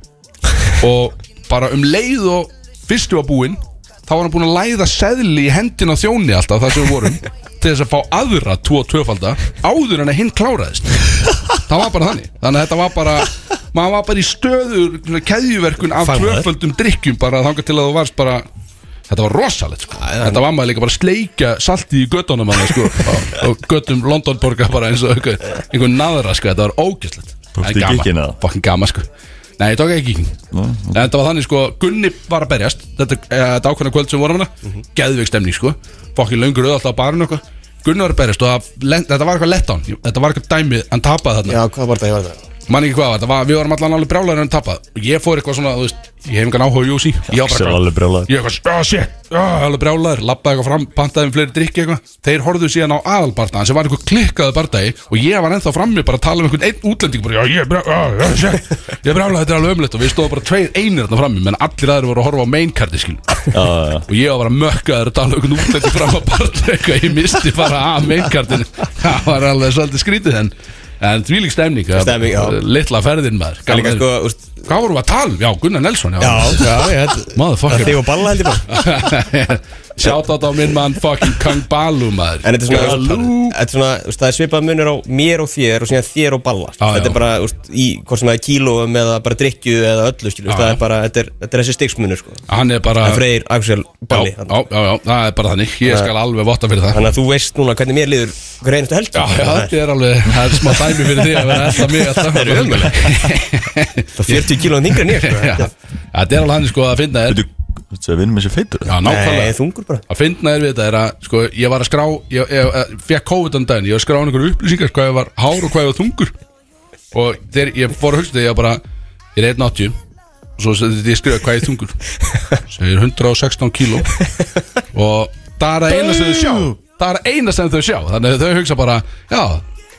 og bara um leið og fyrstu var búinn þá var hann búinn að læða seðli í hendina á þjóni alltaf það sem við vorum til þess að fá aðra tvo tvöfalda áður en að hinn kláraðist það var bara þannig þannig að þetta var bara maður var bara í stöður keðjuverkun af Fagmaður. tvöfaldum drikkjum bara þangað til að þú varst bara Þetta var rosalegt sko Þetta var maður líka bara að sleikja salti í göttunum hann sko og- og göttum Londonborga bara eins og einhver, einhver naðra sko Þetta var ógæslegt Tókstu í gikkinn eða? Fokkin gama sko Nei, ég tók ekki kíkin En þetta var þannig sko Gunni var að berjast Þetta, e, þetta ákveðna kvöld sem vorum hana mm -hmm. Geðveik stemning sko Fokkin löngur auð alltaf á barinu eitthvað Gunni var að berjast og það, len- þetta var eitthvað letdown Þetta var eitthvað dæmi Hann tapaði þarna já, hvað var það, ég var það Man ekki hvað var, þetta var, við vorum allan alveg brjálæður en tapað Og ég fór eitthvað svona, þú veist, ég hef engan áhuga á Jósi Ég var Axel bara alveg brjálaður. Ég var svona, oh shit, oh, alveg brjálæður Lappaði eitthvað fram, pantaði um fleiri drikki eitthvað Þeir horfðu síðan á aðalbardaðan sem var einhver klikkaðu bardagi Og ég var ennþá frammi bara að tala um einhvern einn útlending Bara, já, ég er brjá, oh, oh, shit Ég er brjálæður, þetta er alveg ömlegt Og við stóðum bara tveir einir þarna frammi Menn allir aðrir voru að horfa á mainkardi, skil Já, já, já. og ég var bara mökkaður að tala okkur útlætti fram að barna eitthvað ég misti bara af meinkartinu það var alveg svolítið skrítið en en þvílík stemning, að- Stemning, já. litla ferðin maður En Gaman- líka sko, úst, hvað vorum við að tala um? já, Gunnar Nelson já, já, ég Það maður þig og balla held ég bara sjátt á minn mann fucking Kang Balu maður En þetta er svona, Galú. þetta er svona úst, það er svipað munur á mér og þér og síðan þér og balla Já, Þetta já. er bara, úst, í hvort sem það er kílóum eða bara drikju eða öllu skilu, Já, það já. er bara, þetta er, þetta er þessi stigsmunur sko. hann er bara Það er Freyr, Axel, já, Balli já, já, já, það er bara þannig ég skal alveg votta fyrir það Þannig að þú veist núna hvernig mér liður hver einustu helg Já, já, þetta er alveg, það er smá dæmi fyrir því að vera alltaf mig alltaf Það er Það er 40 kílóðan þingra en ég sko. Já, Þetta er alveg hann sko að finna er Veitu, þetta er vinnum með sér feitur Já, nákvæmlega Nei, þungur bara að finna þér við þetta er að sko, ég var að skrá, ég, ég, ég fekk COVID um daginn, ég var að skrá einhverju upplýsingar hvað ég var hár og hvað ég var þungur og þegar ég fór að hugsa þetta, ég var bara ég er 180 og svo þetta ég skrifa hvað ég er þungur sem er 116 kíló og það er að eina sem þau sjá það er að eina sem þau sjá, þannig að þau hugsa bara já,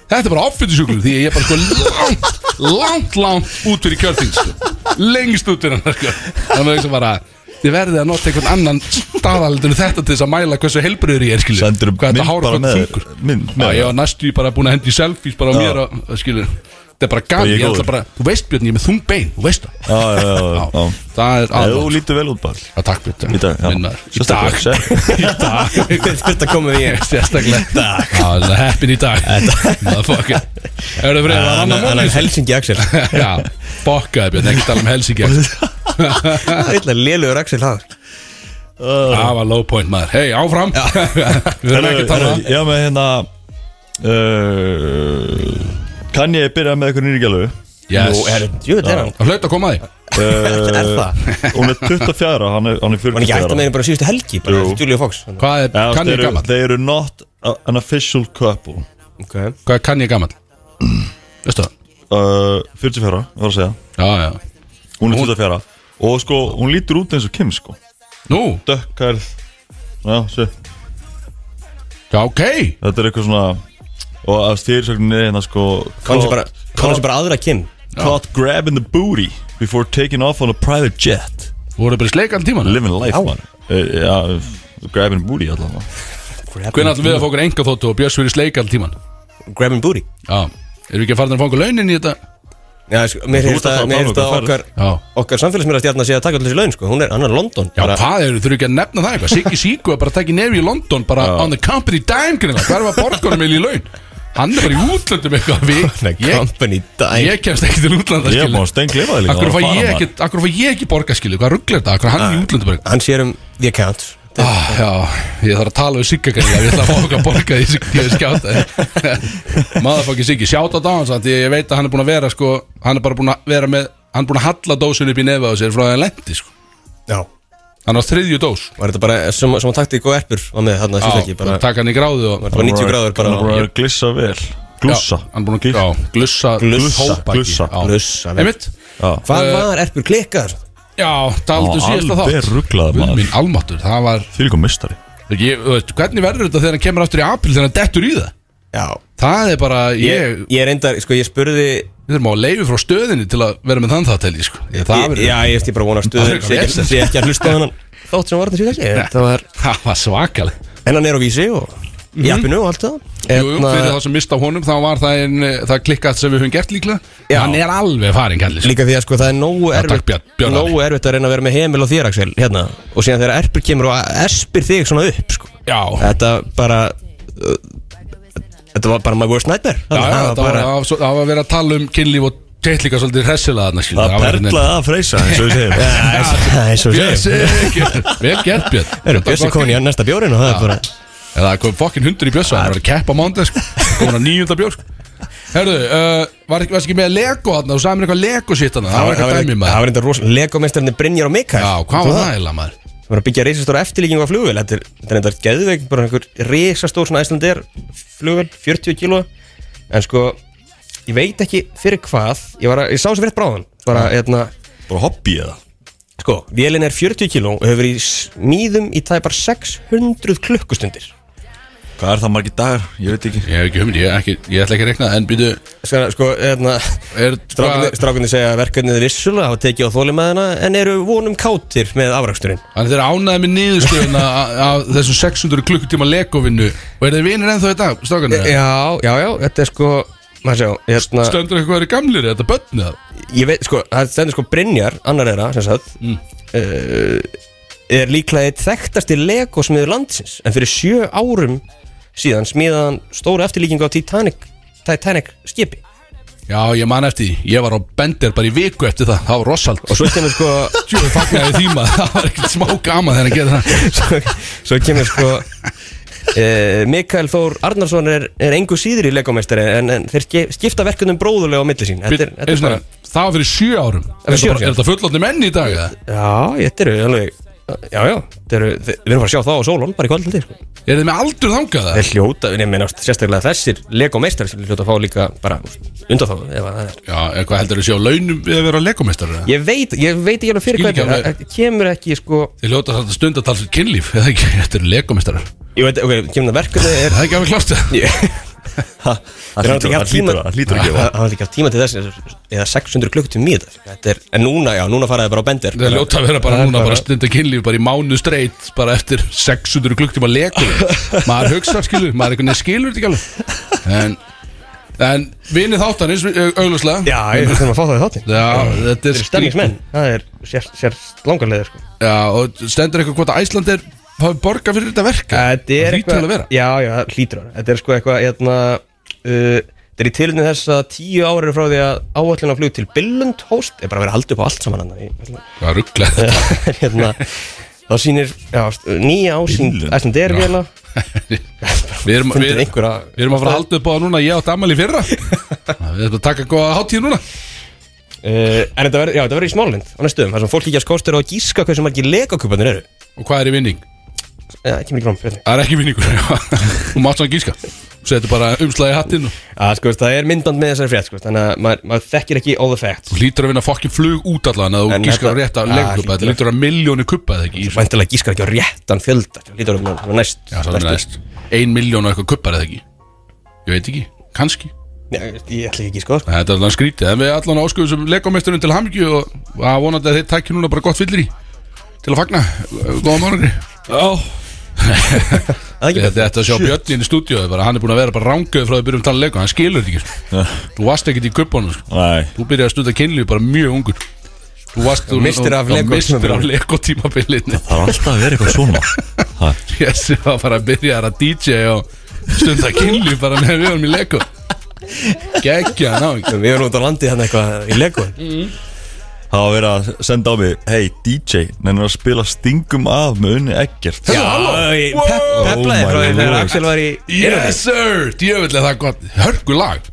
þetta er bara offitusjúklu því að ég er bara sko langt, langt, langt út fyrir kjörþing sko. lengst út fyrir hann sko. þannig að þau hugsa bara þið verðið að nota einhvern annan staðaldinu þetta til þess að mæla hversu helbriður ég er skilur Sendur hvað mynd þetta hára bara hvað með þungur þér Mynd Já, með ég þér var næstu í bara búin að hendi í selfies bara á mér og og skilur Þetta er bara Og gæð, ég ég ætla góður. bara Þú veist Björn, ég er með þung bein, þú veist það Já, já, já, já, já. Það er Eða þú alveg lítur vel út bara Já, takk Björn Í dag, já. Minn maður. Í Sérstaklega, dag Í dag Þetta komið ég Sérstaklega Í dag Já, það er heppin í dag Motherfucker Hörðu fyrir, það var annar Þannig að mólis Helsingi Axel Já, bokkaði Björn, ekki tala um Helsingi Ítla lélugur Axel það Það var low point maður Hei, áfram Við erum ekki að tala um það. Já, með hérna uh, Kann ég byrja með eitthvað nýri gælu Nú er Yes Jú, þetta er hann Það hlaut að koma að því Er það? Uh, Hún er 24 og hann er, hann er Var 40 hann ekki hægt að meina bara síðustu helgi bara Jú. Julio Fox Ok Hvað er, kann ég gammal? Þeir eru not an official couple Hvað er kann ég gammal? Veistu það? uh, 44 ára, ég var að segja Já, já Hún er 24 Og sko, hún lítur út eins og Kim sko Nú, Dökkhærð Já, sé já, ok Þetta er eitthvað svona Og að styrsögnin er hérna sko Kannan sem bara, kannan sem bara aðra kinn Caught grabbing the booty Before taking off on a private jet Voru bara í sleik allan tíman Living life Já. man uh, Já, grabbing booty allavega Hvernig ætlum við að fá okkur enga þóttu og Björns verið í sleik allan tíman Grabbing booty Já, erum við ekki að fara að fá okkur launin í þetta Já, sko, mér Þú heyrst ert að að, fara að mér heyrst tala um að hvað okkar Já, Okkar samfélagsmiðrastjarnar sé að taka allir þessi laun sko Hún er, hann er London já bara, hvað eru, þurfum ekki að nefna það eitthvað Siggi Síku er bara að taka í nefi í London bara on the company dime greinlega Hvað er að borgunum eil í laun? Hann er bara í útlöndum eitthvað Nei, við, ég, Company dime ég kemst ekki til útlanda Ég er skilur. búin að stengleifa þig líka Akkur fá bara ég fara, ekki, akkur fá ég ekki borga skilur Hvað rugglar þetta, akkur er hann í útlöndum bara Hann sér um the account Ah, já, ég þarf að tala við Sigga kannski Ég ætla að fá okkur að borga því Sigga ég skjáta Maðurfokki Siggi, sjáta á hans Því ég veit að hann er búin að vera sko, Hann er bara búin að vera með Hann er búin að halla dósun upp í nefið á sér Frá því að hann lendi sko Já Hann á þriðju dós Var þetta bara sem, sem að takti í góð erpur Var með þarna Já, síðan bara Takk hann í gráðu og, Var þetta bara 90 gráður Hann er búin bara að glissa vel já, Glussa Hann er búin að já, glussa Glussa, tóbaki, glussa, já. Lussa vel. Einmitt Já Hvað Eh, var erpur klikkar? Já, taldu síðasta þátt Alveg rugglaður Guð maður Minn almáttur, það var Því líka mistari ég, þú veist, Hvernig verður þetta þegar hann kemur aftur í april Þegar hann dettur í það Já Það er bara, ég, Ég, ég reyndar, sko ég spurði Við þurfum á leiði frá stöðinni til að vera með þann það til sko. Ég- það, Ég- verður- Já, ég eftir bara að vona að Það er stuður eitthvað sé ekki, vesen. sé ekki að hlusta á hann Þótt sem var þetta síðan ekki Það var það var svakaleg En hann er á vísi og í appinu og allt það Mhm. Jú, jú, fyrir Hérna, það sem mista af honum þá var það, ein, eh, það klikkað sem við höfum gert líklega Já. Hann er alveg farin kallis Líka því að sko það er nógu takk, erfitt Björn- Björn Ari. Nógu erfitt að reyna að vera með heimil og þér Axel hérna. Og síðan þegar erpur kemur og espir þig svona upp sko. Já, Þetta bara uh, Þetta var bara my worst nightmare já, já, Þarna, það það var, bara, það var, svo- það var að vera að tala um kynlíf og teitlíka svolítið hressilega þarna skilur. Það var einhvern veginn- perlaði að freysa eins og við Björn, segjum Það er svo sér Sigurður, Vel gert Björn Erum Bjössi komin í næsta bjórin og það er bara Það kom fokkin hundur í Björsa Það var að keppa á mándið sko. Komin að nýjunda Björn sko. Herðu, uh, var ekki, varst ekki með Lego þarna Þú sagði mér eitthvað Lego sitt þarna Það var Það eitthvað dæmi var- það maður var eitthvað rosalega Legomeistarinn Brynjar og Mikael Já, hvað var það eiginlega maður? Það var að byggja reisastóra eftirlíkingu af flugvél Þetta er þetta er reyndar geðveik Bara einhver reisastór svona Æslandir flugvél 40 kíló En sko Ég veit ekki fyrir hvað Ég, var að, ég sá þessu frétt bráðan Bara hérna Bara hobby eða Sko, vélin er 40 kíló Og hefur verið í smíðum í tæpar 600 klukkustundir Hvað er það margir dagar? Ég veit ekki Ég hef ekki hugmynd, ég, ekki, ég ætla ekki að rekna En býtu, Sko, sko hérna er Strákunni, strákunni segja að verkefnið er vissulega hafa tekið á þólimaðina en eru vonum kátir með afraksturinn. Þannig þeir ánaði með niðurstöðuna a- af þessum 600 klukkutíma legovinnu Og er þeir vinir ennþá í dag, E- strákanir? Já, já, já, þetta er sko, maður sjá, hérna... Stöndur eitthvað eru gamlir, er þetta börnið það? ég veit sko, það stendur sko Brynjar annar þeirra, sem sagt Mm. uh, er líklega eitt þekktasti Lego smiður landsins, en fyrir sjö árum síðan smíðaði hann stóra eftirlíkingu á Titanic, Titanic skipi, Já, ég man eftir því, ég var á Bender bara í viku eftir það, það var rossalt og svo kemur sko Tjóðu fagnaði því maður, það var ekkert smá gama þegar hann getur það svo, svo kemur sko uh, Mikael Þór Arnarsson er, er engu síður í legomeistari en, en þeir ske- skipta verkunum bróðulega á milli sín þetta er, þetta Einu er sinni, bara, Það var fyrir 7 árum Er fyrir þetta bara- sjö árum. er þetta fullotni menn í dag? eða? já, þetta eru alveg já, já, þetta eru, við erum bara að sjá það á sólun bara í kvöldaldi sko. Er þið með aldur þangað? eða? Þeir hljóta, ég meina sérstaklega þessir legomeistar sem hljóta að fá líka bara undan þá ef að það er Já, eða hvað heldur þið séu á launum við að vera legomeistar? Ég veit, ég veit ekki alveg fyrir Skil hvað ekki þetta er, alveg. það kemur ekki sko Þið ljóta þetta stund að tala sér kynlíf, eða ekki? Þetta eru legomeistar Það Ég veit, ok, kemur það verkefni er er ekki alveg klart það Ha, Það Þeir hlýtur- hafa ekki það haft tíma hlýtur- það hlýtur ekki að Það vera það hafa ekki haft tíma til þess eða 600 klukkutum í þetta Þetta er, en núna, já, núna faraði bara á bender Það er ljóta að vera bara Það er núna bara stunda kynlíf bara í mánu streitt bara eftir 600 klukktíma lekur maður hugsa skilur, maður einhvern veginn skilur þetta ekki alveg en, en vinið þáttanins auglúslega Já, ég finnst þeim að fá það í þáttin eh, Já, þetta er Þeir eru stemningsmenn, það er sér, sér langarlega sko Já, og stendur eitthvað hvort að Æsland er hafi borga fyrir þetta verk Þetta er hlýtur alveg að vera. Já, já, það hlýtur að vera Þetta er sko eitthvað hérna, uh, Þetta er í tilinu þess að tíu ára eru frá því að áallin á flug til Billund host er bara að vera að halda upp á allt saman hann hérna, Hvað ruggla hérna, þá sýnir já, nýja ásýnd Billund? Æslandeir vila Við erum, við, fundur hérna, einhverja við erum að fara að halda upp á það núna ég átt amal í fyrra Við erum að taka góða hátíð núna uh, En þetta verður já, þetta verður í smálind á næstum þar sem fólk líkjast kostur á að gíska hversu margir legakupanir eru Og hvað er í vinning? Já, það kemur ekki fram fyrir Það er ekki vinningur Þú mátt svo að gíska setur bara umslagi í hattinn og að, sko, það er myndband með þessari frétt sko, þannig að maður, maður þekkir ekki all the facts þú hlýtur að vinna fokkin flug út allan að þú En gískar að þetta- rétta Ja, legkuppa hlýtur þetta að- hlýtur að miljónu kuppa eða ekki í þessu? Væntalega gískar ekki á réttan fjölda Lítur um hann næst Já, það er næst Ein miljón og eitthvað kuppar eða ekki Ég veit ekki, kannski Já, Ég ætla ekki að gíska á það, sko. Þetta er allan skrítið En við allan áskuðum sem leikomeisturinn til hamingju Og að vonandi að þeir tækja núna bara gott fyllir í Til að fagna Góðan morgunni Það er ekki Þetta þetta að sjá Björnin í stúdíu bara, Hann er búin að vera bara ránguð frá að byrja um tala leika Hann skilur þetta ekki sko. Þú varst ekkert í kuppanum sko. Nei, Þú byrjaði að stunda kynlíf bara mjög ungur Þú varst þú- Misstir af þú- Lego- misstir af leikotímabilin það er alltaf að vera eitthvað svona ha, Þessi var bara að byrja að DJ og stunda kynlíf bara með við varum í lego Gekkja ná Við erum út á landi þannig eitthvað í Lego Það var verið að senda á mig Hey DJ, nennir að spila stingum af með unni ekkert Já, ég pep- Wow. peplaði Oh my frá því þegar lord. Axel var í Yes sir, djöfell er það gott Hörgu lag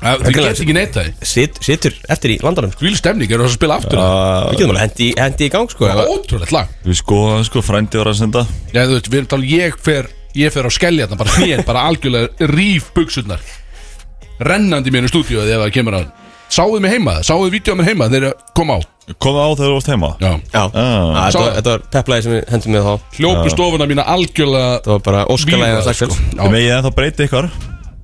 Það Hörgulag. get ekki neitt það Sit- Situr eftir í landanum sko. Hvíl stemning, eru það að spila aftur það Uh, Við getum alveg hendi, hendi í gang sko Það var ef- ótrúlegt lag Við skoðum sko, frændi var að senda Já, þú veist, við erum talað, ég fer Ég fer á skelli þarna, bara hnén, bara algjörlega Rýf buksurnar Rennandi mér í stúdíu þegar það kemur að Sáðu mig heima, sáðu vídeo mér heima þegar ég kom á Komið á þegar þú varst heima Já, Já, Ah. Að þetta var- Sá- þetta var peplaði sem við hendum með þá hljópu stofuna mína algjörlega Það var bara óskalæði víða, að Axel sko. Ég Já, megið ennþá breyti ykkar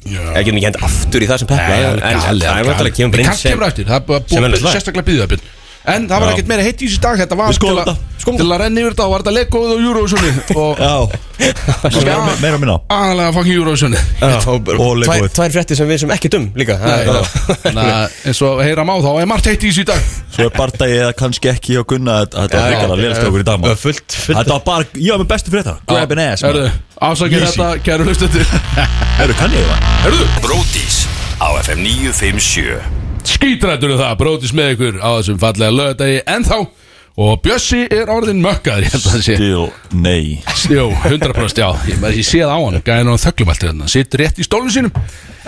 já. Ég getum ekki hendi aftur í það sem peplaði En en það er vantilega kemur brinn sem sem kemur eftir, það er sem búið önnur lag. sérstaklega bíðabinn En það var Já. ekkert meira heitt í þessi dag Þetta var Við til skoðum að, þetta, skoðum til að renna yfir þetta og var þetta legoð og Eurovisioni og Sko, Meira, meira, meira minna aðalega fangin Eurovisioni Já, Ah, og bara- Og Lego tvær- við. Tvær frétti sem við sem ekki dum líka Það er- Þannig að eins og heyra má þá er margt heitt í þessi dag Svo er barndagi eða kannski ekki hjá Gunna Þetta þetta var hrikalega lélast hjá okkur í dag Það er maður. fullt, fullt Þetta var bara, ég var með bestu fyrir þetta Grab an ass maður. Herðu, afsakið Easy. þetta, kæru hlustendur Herru, kann ég það? Herðu, Bródís á FM 957 skítrættur um það Brótis með ykkur á þessum fallega lögadagi Ennþá Og Bjössi er orðin mökkaður, ég held að það sé Still, nei Jó, 100% já Ég, maður- ég sé það á hann, gæðin á hann þöglum allt hérna Sittur rétt í stólun sínum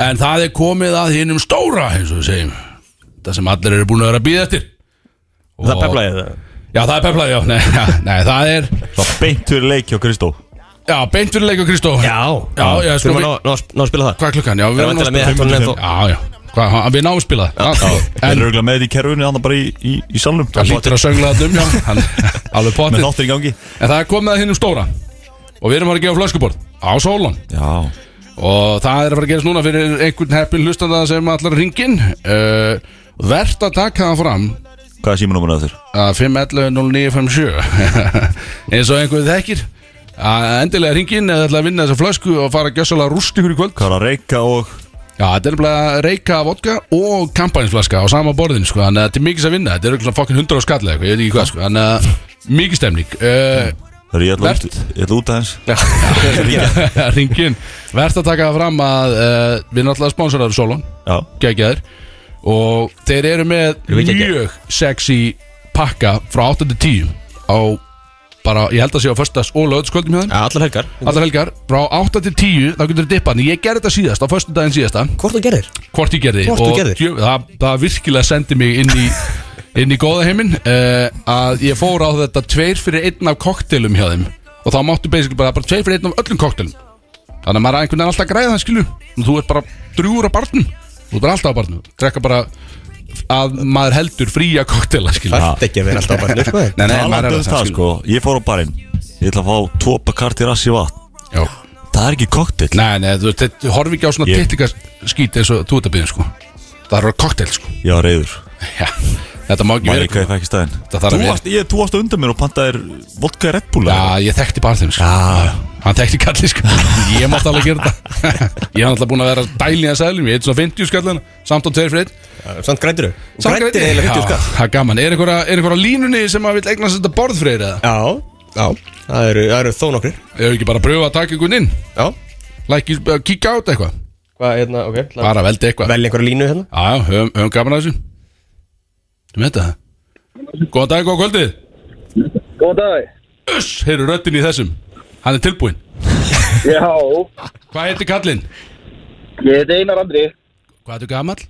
En það er komið að hinnum stóra eins og við segjum Það sem allir eru búin að vera að býða eftir og, Það peplaði það Já, það er peplaði, já Nei, já, nei það er Svo beint fyrir leik hjá Kristó Já, beint fyrir leik og Kristó Já Já, já, sko, Þurfum að við- ná- ná að sp- ná að spila það Hvað er klukkan? Já, við Það er erum vantilega að með spila hættunum ennþá Já, já Hvað, hann- Við náum að spila það Þeir En eru örugglega með þetta í kerfinu, þannig bara í, í, í salnum hann lítur að söngla það um, já hann, Alveg Með potið þáttir í gangi En það er komið að hinnum stóra Og við erum að fara að gefa flöskuborð Á sólan Já Og það er að fara að gerast núna fyrir einhvern heppin hlustanda sem allar ringin uh, Vert að taka það fram Hvað er símanúmerið að þér? að 511-0957 eins og einhver þekkir að endilega ringin eða ætla að vinna þessa flösku og fara að gjössalega rúst ykkur í kvöld Hvað er að reyka og Já, þetta er nefnilega reyka vodka og kampaninsflaska á sama borðin sko, þannig að þetta er mikið sem vinna, þetta er eitthvað fokkin 100 á skall eða eitthvað, ég veit ekki hvað sko, þannig að mikið stemning uh, Hörru, ég ætla Vert. út- ég ætla út aðeins Ringin, verðt að taka það fram að uh, við erum alltaf sponsorar Solon Já geggjaðir og þeir eru með Eru við geggjaðir? mjög sexy pakka frá 8 til 10 á bara, ég held að sé á föstas og lögutskvöldum hjá þeim Já, Allar helgar allar helgar, frá 8 til 10 þá getur þið dippað, en ég gerði þetta síðast á föstudaginn síðasta, Hvort þú gerir? hvort ég gerði Hvort þú og gerðir? djö, það, það virkilega sendi mig inn í inn í góða heiminn uh, að ég fór á þetta tveir fyrir einn af koktelum hjá þeim og þá máttu basically bara, bara tveir fyrir einn af öllum koktelum þannig að maður er einhvern veginn alltaf að græða það skilu og þú ert bara drjúur á barnum þú ert bara alltaf á barnum drekka bara að maður heldur fría koktela skilu Allt ekki að vera alltaf bara sko nei, nei, maður Talandi er um það sko Ég fór á barinn Ég ætla að fá tvo bakart í rassi vatn Já. Það er ekki koktill nei, nei, þú veist, þetta- horfi ekki á svona Ég- tittingaskít eins og þú ert að byrja sko það er að vera koktel sko Já, reyður Já. þetta má ekki Mæri vera hvað ég fæk í staðinn Þetta þarf að Þú vera- varst, ég, þú varst á undan mér og pantaðir vodka í Red Bull eða? Ah. Já, ég þekkti bara þeim sko. Hann þekkti kalli sko. Ég mátti alveg gera þetta Ég hann alltaf búin að vera dælið að sæðlum Ég heit svona 50 skallana, samt á 2 fyrir 1 Samt grændir þau Grændir heila 50 skall Það er gaman, er einhverja, er einhverja á línunni sem að vil eignast þetta borð fyrir eða? Já, já Það eru, það eru þó nokkrir Ég hef ekki bara að pröfa að taka einhvern inn Já like, uh, Kíkja á þetta eitthvað, Hvað, hérna, ok ætla- bara veldi eitthvað Já, Velja einhverja línu hérna já, höfum, höfum gaman að þessu Þú með þetta Góðan dag, góða kvöldið Góðan dag. Uss, heyrðu röddin í þessum Hann er tilbúinn Já, Hvað heitir kallinn? ég heiti Einar Andri. Hvað heitir gamall?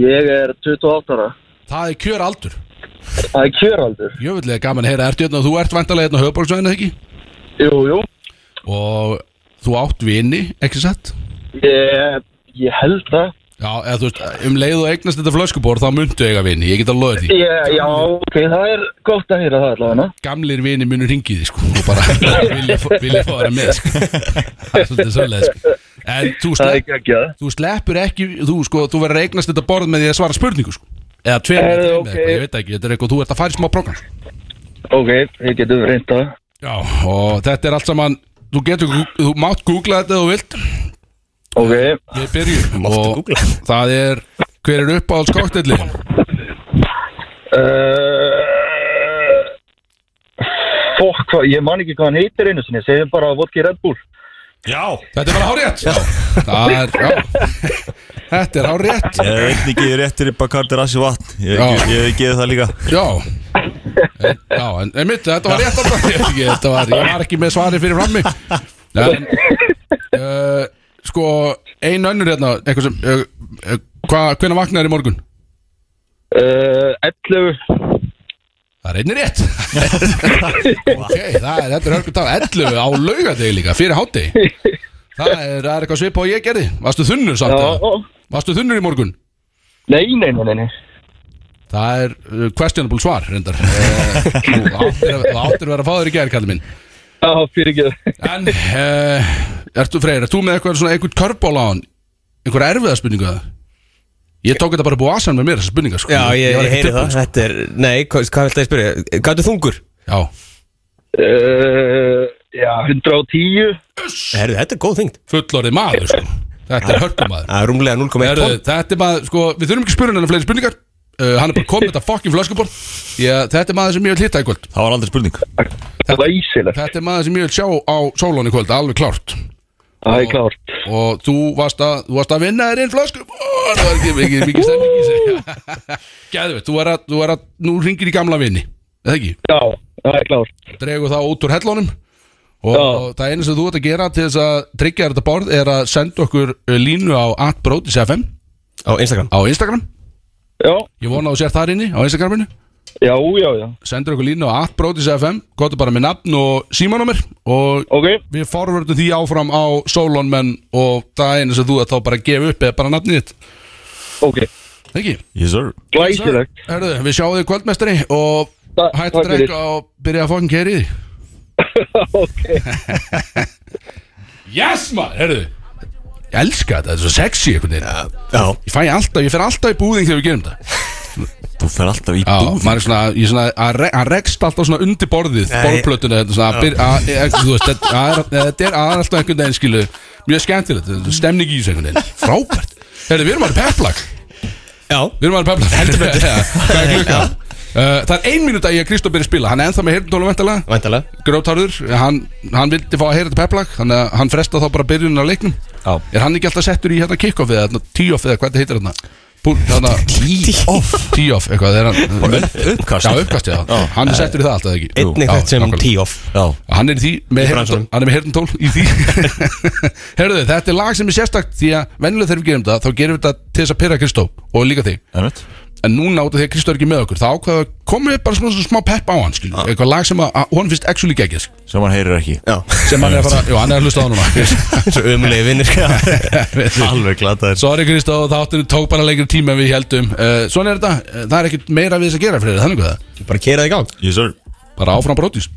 Ég er 28 ára. Það er kjör aldur Það er kjöraldur. Jöfnlega gaman að heyra, ertu hérna og þú ert vantarlega hérna á höfuborgsvæðinu ekki? Jú, jú. Og þú átt vini, ekki satt? Ég, ég held það. Já, eða þú veist, um leið og eignast þetta flöskubor þá muntu eiga vini, ég get að loða því Ég, já, ok, það er gott að heyra það allavega. Gamlir vini munur ringið því, sko og bara vilja, fá- vilja fá þeirna með, sko Það er svolítið svolítið, sko En þú, Það er slepp, geggjað. þú sleppur ekki þú, sko, þú verður að eignast þetta borð með því að svara spurningu, sko Eða tveim, Herðu, eða ok. okay. ég veit ekki, þetta er eitthvað, þú ert að fara í smá program sko. Ok, við getum reynda það. Já, og þetta er allt saman þú getur, þú mátt googla þetta ef þú vilt Ok, Við byrjum Máttu og googla. það er hver er uppáhalds koktellin? uh, fokk, hvað, ég man ekki hvað hann heitir einu sinni, segjum bara vodki Red Bull. Já, Þetta er bara hárétt Já, það er, já Þetta er hárétt ég hef einnig gefið réttir í Bacardi Rassi vatn Ég Já. hef- ég hef gefið það líka Já En- Já, en, en mitt, þetta var rétt alltaf Ég veit ekki, Þetta var, ég var ekki með svari fyrir frammi En uh, Sko, ein önnur hérna Eitthvað sem, uh, uh, hva, hvenær vaknaður í morgun? Uh, 11, Það er einnig rétt Ok, það er, þetta er hörku tala 11 á laugardegi líka, fyrir hátegi Það er, það er eitthvað svipa og ég gerði Varstu þunnur samt? eða? já, Varstu þunnur í morgun? nei, nei, nei, nei, nei. Það er uh, questionable svar reyndar Eh, Þú áttir að- þú áttir að vera að fá þér í gær, kalli minn Já, fyrir ekki En, uh, ertu freyr, ert þú með eitthvað svona einhvern körbál á hann? Einhver erfiða spurningu að það? Ég tók þetta bara búið aðsann með mér þessa spurninga sko. Já, ég, var ekki ég heyri tilbúinn, það Þetta er, nei, hvað, hvað vilt að ég spyrja? Hvað er þungur? sko. Já, uh, Já, 110 Herðu, þetta er góð þyngd fullorðið maður sko. Þetta er hörkumaður Það er rúmlega 0,1 Heru, tónn þetta er maður, sko, við þurfum ekki að spyrja hennar fleiri spurningar uh, Hann er bara komið þetta fucking flöskuborð Ég, Þetta er maður sem ég vil hitta í kvöld Það var aldrei spurning Það var ísilegt, Þetta er maður sem ég vil sjá á sólón í kvöld, alveg klárt það er klárt Og þú varst að, þú varst að vinna þér inn flöskuborð Það var ekki mikið, mikið stemming í sig Gæðveit, þú er að, þú er að, nú ringir í gamla vini Eða ekki, Já, það er klárt dregur það út úr hellónum Og, Já. og það eina sem þú ert að gera til þess að tryggja þér þetta borð er að senda okkur uh, línu á atbrotis.fm Á Instagram á Instagram Já, Ég vona að þú sér þar inni á Instagraminu já, já, já sendur okkur línu á atbrotis.fm gotur bara með nafn og símanumir og Ok, við forvördum því áfram á sólónmenn og það er einu sem þú að þá bara gefa upp eða bara nafnið þitt ok, ekki? Yes sir glæsilegt Herðu, við sjáum þig kvöldmestari og Ta- hætt að takk fyrir. drekka og byrja að fokkin keri í því Ok, Yes maður, herðu Ég elska þetta, þetta er svo sexy einhvern veginn Já, Ég fæ alltaf, ég fer alltaf í búðing þegar við gerum þetta þú fer alltaf í Já, búð maður er svona, ég er svona, að re- hann rekst alltaf svona undir borðið, borðplötuna, þetta svona, að byr, að, að, þú veist, þetta að er- þetta er að er alltaf einhvern veginn, skilu, mjög skemmtilegt, þetta er stemning í þessu einhvern veginn, frábært. Herri, við erum alveg peplag, Já við erum alveg peplag, heldur betur, hvað er klukkan? Uh, það er ein mínúta í að Kristóf byrja að spila, hann er ennþá með heyrndólu ventilega, Væntalega grótarður, hann, hann vildi fá að heyra þetta peplag, þannig að hann fresta þá bara byrjunum á leiknum. Já. Er hann ekki alltaf settur í hérna kick-off eða hérna tíoff eða hvað þetta heitir hérna? Púl, hérna, Tíoff tíoff eitthvað, þegar hann, Uppkast Já, uppkast, já, hann er settur í það alltaf ekki Einnig Já, þekkt sem nákvæmlega. tíoff Já, Hann er í því, með heyrn, bransanum. hann er með heyrntól í því Herðu, þetta er lag sem er sérstakt Því að venjulega þegar við gerum það Þá gerum við þetta til þess að pyrra Kristó Og líka þig ennveit En núna út af því að Kristó er ekki með okkur Þá ákveða komum við bara svona, svona smá pepp á hann skilur. Eitthvað lag sem að, að honum finnst actually geggis Sem hann heyrir ekki Já Sem hann er að fara, jú, hann er að hlusta á það núna Svo umlega vinnir Alveg glataður Sorry Kristó, þáttunum tók bara lengri tíma en við heldum uh, Svona er þetta, eh, það er ekkit meira við þess að gera fyrir þannig hvað Bara kera það í gang Yes sir bara áfram brótis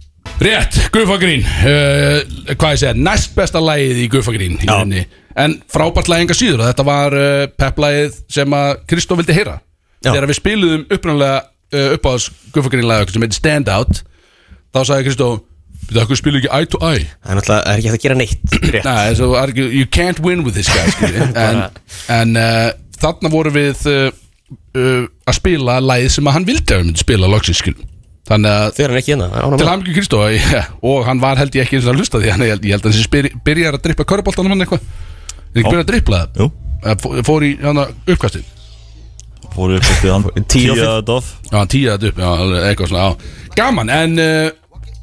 Rétt, Guffagrín uh, Hvað ég segja, næst besta lagið í Guffagrín í rauninni. En frábært lagið enga síður og Þetta var uh, pepplagið sem að Kristó vildi heyra Já. Þegar við spiluðum upprunalega uh, uppáðs Guffagrín lagið okkar sem heitir Stand Out Þá sagði Kristó Þetta okkur spilu ekki eye to eye Það er náttúrulega, það er ekki hægt að gera neitt Rétt Nei, so, argue, You can't win with this guy skilur við. En, en uh, þarna voru við uh, uh, að spila lagið sem að hann vildi að við myndi spila loksins skilur Þannig að Þegar hann er ekki hérna, það er Til ánægum hamingju Kristó ja, og hann var held ég ekki eins og að hlusta því hann, ég, held, ég held að hann byrjar að drippa köruboltanum hann eitthvað er ekki byrjar að dripla það Jú Eða fó- fór í hérna, hann uppkastin Fóru upp eftir hann Tíu og fimm. Tíja doff já hann tíða þetta upp já, alveg eitthvað svona já. gaman en uh,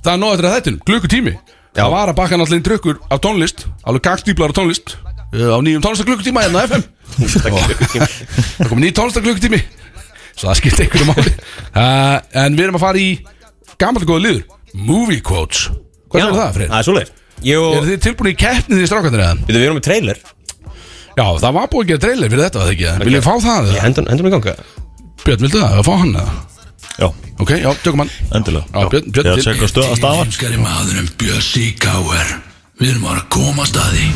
það er nóg eftir að þættinum glöku tími það var að baka náttúrulega inn drukkur af tónlist alveg gagstíplar af tónlist uh, á nýjum tónlistaglökutíma hérna á FM það kom nýjum tónlistaglökutími svo það skipti einhverju máli uh, en við erum að fara í gamalt og góða liður movie quotes hvað er það Freyr? Það er svoleiðis Ég og, Eru þið tilbúin í keppnið því strákandir eða? við erum með trailer Já, það var búið að gera trailer fyrir þetta, var það ekki? Okay. Viljið fá það? Ég hendur hendur mig í ganga Björn, vildu það? Að fá hann eða? Já, Ok, já, tökum hann endilega Já, Björn- Björn Ég að til- checka stöð að stafa Íslenskari maðurum Bjössi Káer Við erum bara að koma staði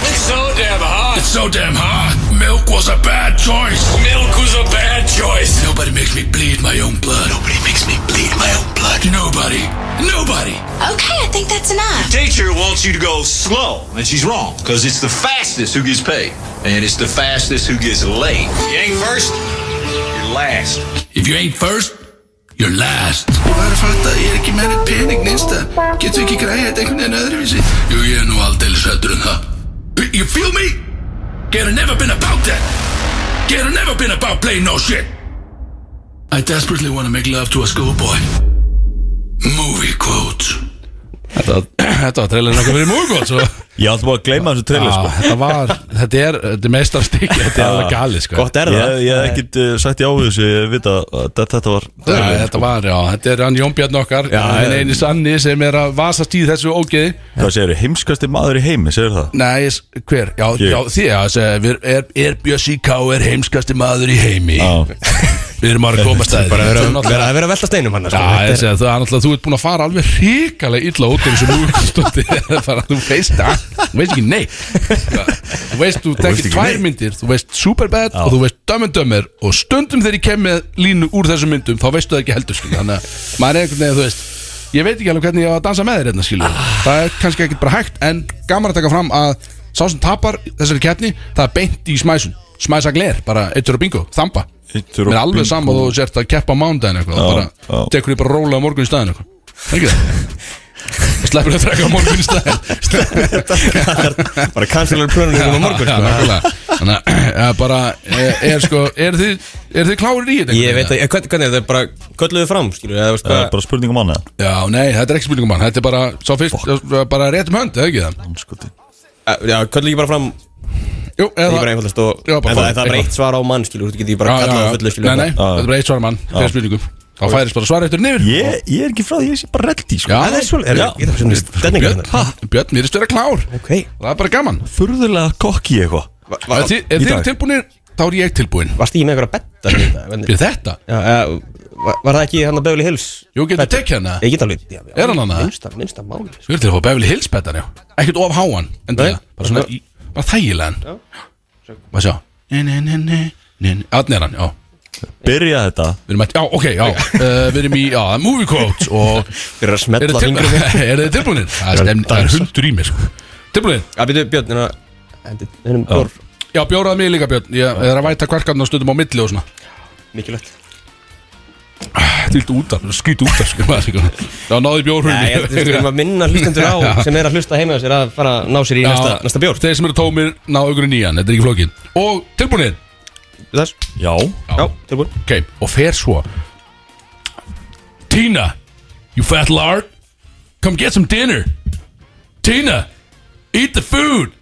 It's so damn hot. It's so damn hot Milk was a bad choice Milk was a bad choice. Nobody makes me bleed my own blood Nobody makes me bleed my own blood Nobody Nobody Okay, I think that's enough. Teacher wants you to go slow, and she's wrong, because it's the fastest who gets paid, and it's the fastest who gets late. You ain't first, you're last. If you ain't first You're last Þú verður að fatta að ég er ekki með neitt pening neinsta Getur ekki græðið þetta einhvern veginn öðruvísi Jú, ég er nú aldeilis hættur en það You feel me? Get never been about that Get never been about playing no shit I desperately wanna make love to a schoolboy Movie quote Þetta var trailerin okkar fyrir múið gott, svo Ég átti bara að gleyma þessu trailer Já, sko þetta var, þetta er, þetta er meistarstykki, þetta er alveg gali, sko Gott er það Ég, ég hef ekkert uh, sagt í ávið þessu Ég veit að að þetta- þetta var Já, þetta var, já, þetta er hann Jón Björn okkar já, en eini sanni sem er að vasast í þessu ógeði Hvað segir þið? Heimskasti maður í heimi, segir það? Nei, s- hver? Já, Ég. já því að segja, við er, er Bjössi K. er heimskasti maður í heimi Já Við erum bara að komast að Bara því. að Þetta vera- er vera náttúrulega- að vera að velta steinum hann Já, ég segi að það er náttúrulega, þú ert búin að fara alveg hrikalega illa út úr þessu múkustótti bara þú veist það, þú veist ekki nei þú veist, þú tekir ekki tvær neitt. myndir þú veist Superbad og þú veist Dumb and Dumber og stundum þegar ég kem með línu úr þessum myndum þá veistu það ekki heldur skil þannig að maður er einhvern veginn, þú veist ég veit ekki alveg hvernig ég á að dansa með þér hérna skil það er kannski ekkert bara hægt en gaman að taka fram að sá sem tapar þessari keppni það er beint í smæsun smæsa gler, bara eittur og bingo, þamba Eittur og mér er alveg bingo. sama þú sért að keppa á mándaginn eitthvað Já, bara, já. tekur því bara rólega á morgun í staðin eitthvað Það er ekki það sleppur þetta ekki á morgun í staðin Bara kansilar plönum Já, ykkur á morgun já, sko. nákvæmlega. þannig að eh, bara eh, er sko er þið, er þið klárir í þetta Ég veit að, eh, hvern- hvernig er þetta bara Kölluðu fram, skilur við, eða veist Það er hvað bara spurning um annað já nei þetta er ekki spurningum mann þetta er bara svo fyrst bara rétt um hönd eða ekki það Heimskoti Eh, Já, köllu ekki bara fram jú Það er eða bara einfaldast og Já, En bara það fá- en það er bara eitthvað. eitt svar á mann, skilur Þú getur ekki Já, bara já, kallað á já. fullu, skilur nei nei bara- þetta er bara eitt svar mann fyrir spurningum þá færist bara svar eftir niður Ég, ég er ekki frá því, ég sé bara reddi sko. Já. Það er svolítið, er Já. það svona stemningar Björn hérna? ha, Björn mér er störa klár Ok það er bara gaman Furðulega kokki eitthvað ef þið- ef í þið dag. eru tilbúinir þá er ég tilbúin Varst ég með einhverja betta í þetta? Hvernig- fyrir þetta Já, eh, var var það ekki hann að Beverly Hills? jú getur tekið hana Ég get alveg já, já, Er hann annað? Minnsta, minnsta máli sko. Við erum til að fá Beverly Hills betan, já Ekkert of háan, endilega Nei. Bara svona, í- bara þægilegan Má sjá Nei, nei, nei, nei, nei, nei Þannig er hann, já Byrja þetta Við erum mætt, já, ok, já uh, Við erum í, já, movie quotes Og Fyrir að eru smetla til, fingur er þið tilbúinir? Það er stemn- það er hundur í mér, sko Tilbúinir? Já, býtu, Björn, hérna Hendi, hennum bjór Já, bjóraði mig líka, Björn Ég er að væta kvarkarn og stundum á milli og svona Mikilvægt Tildu út af, skýtu út af, sko maður, sko. Já, náði Nei, ég held að við bjórhulni skulum að minna hlustendur á Já. sem er að hlusta heima á sér að fara að ná sér í næsta, næsta bjór Þeir sem eru tómir, ná augur í nýjan, þetta er ekki flókin Og tilbúinir? Þess Já Já, tilbúin Ok, og fer svo Tina You fat lard Come get some dinner Tina Eat the food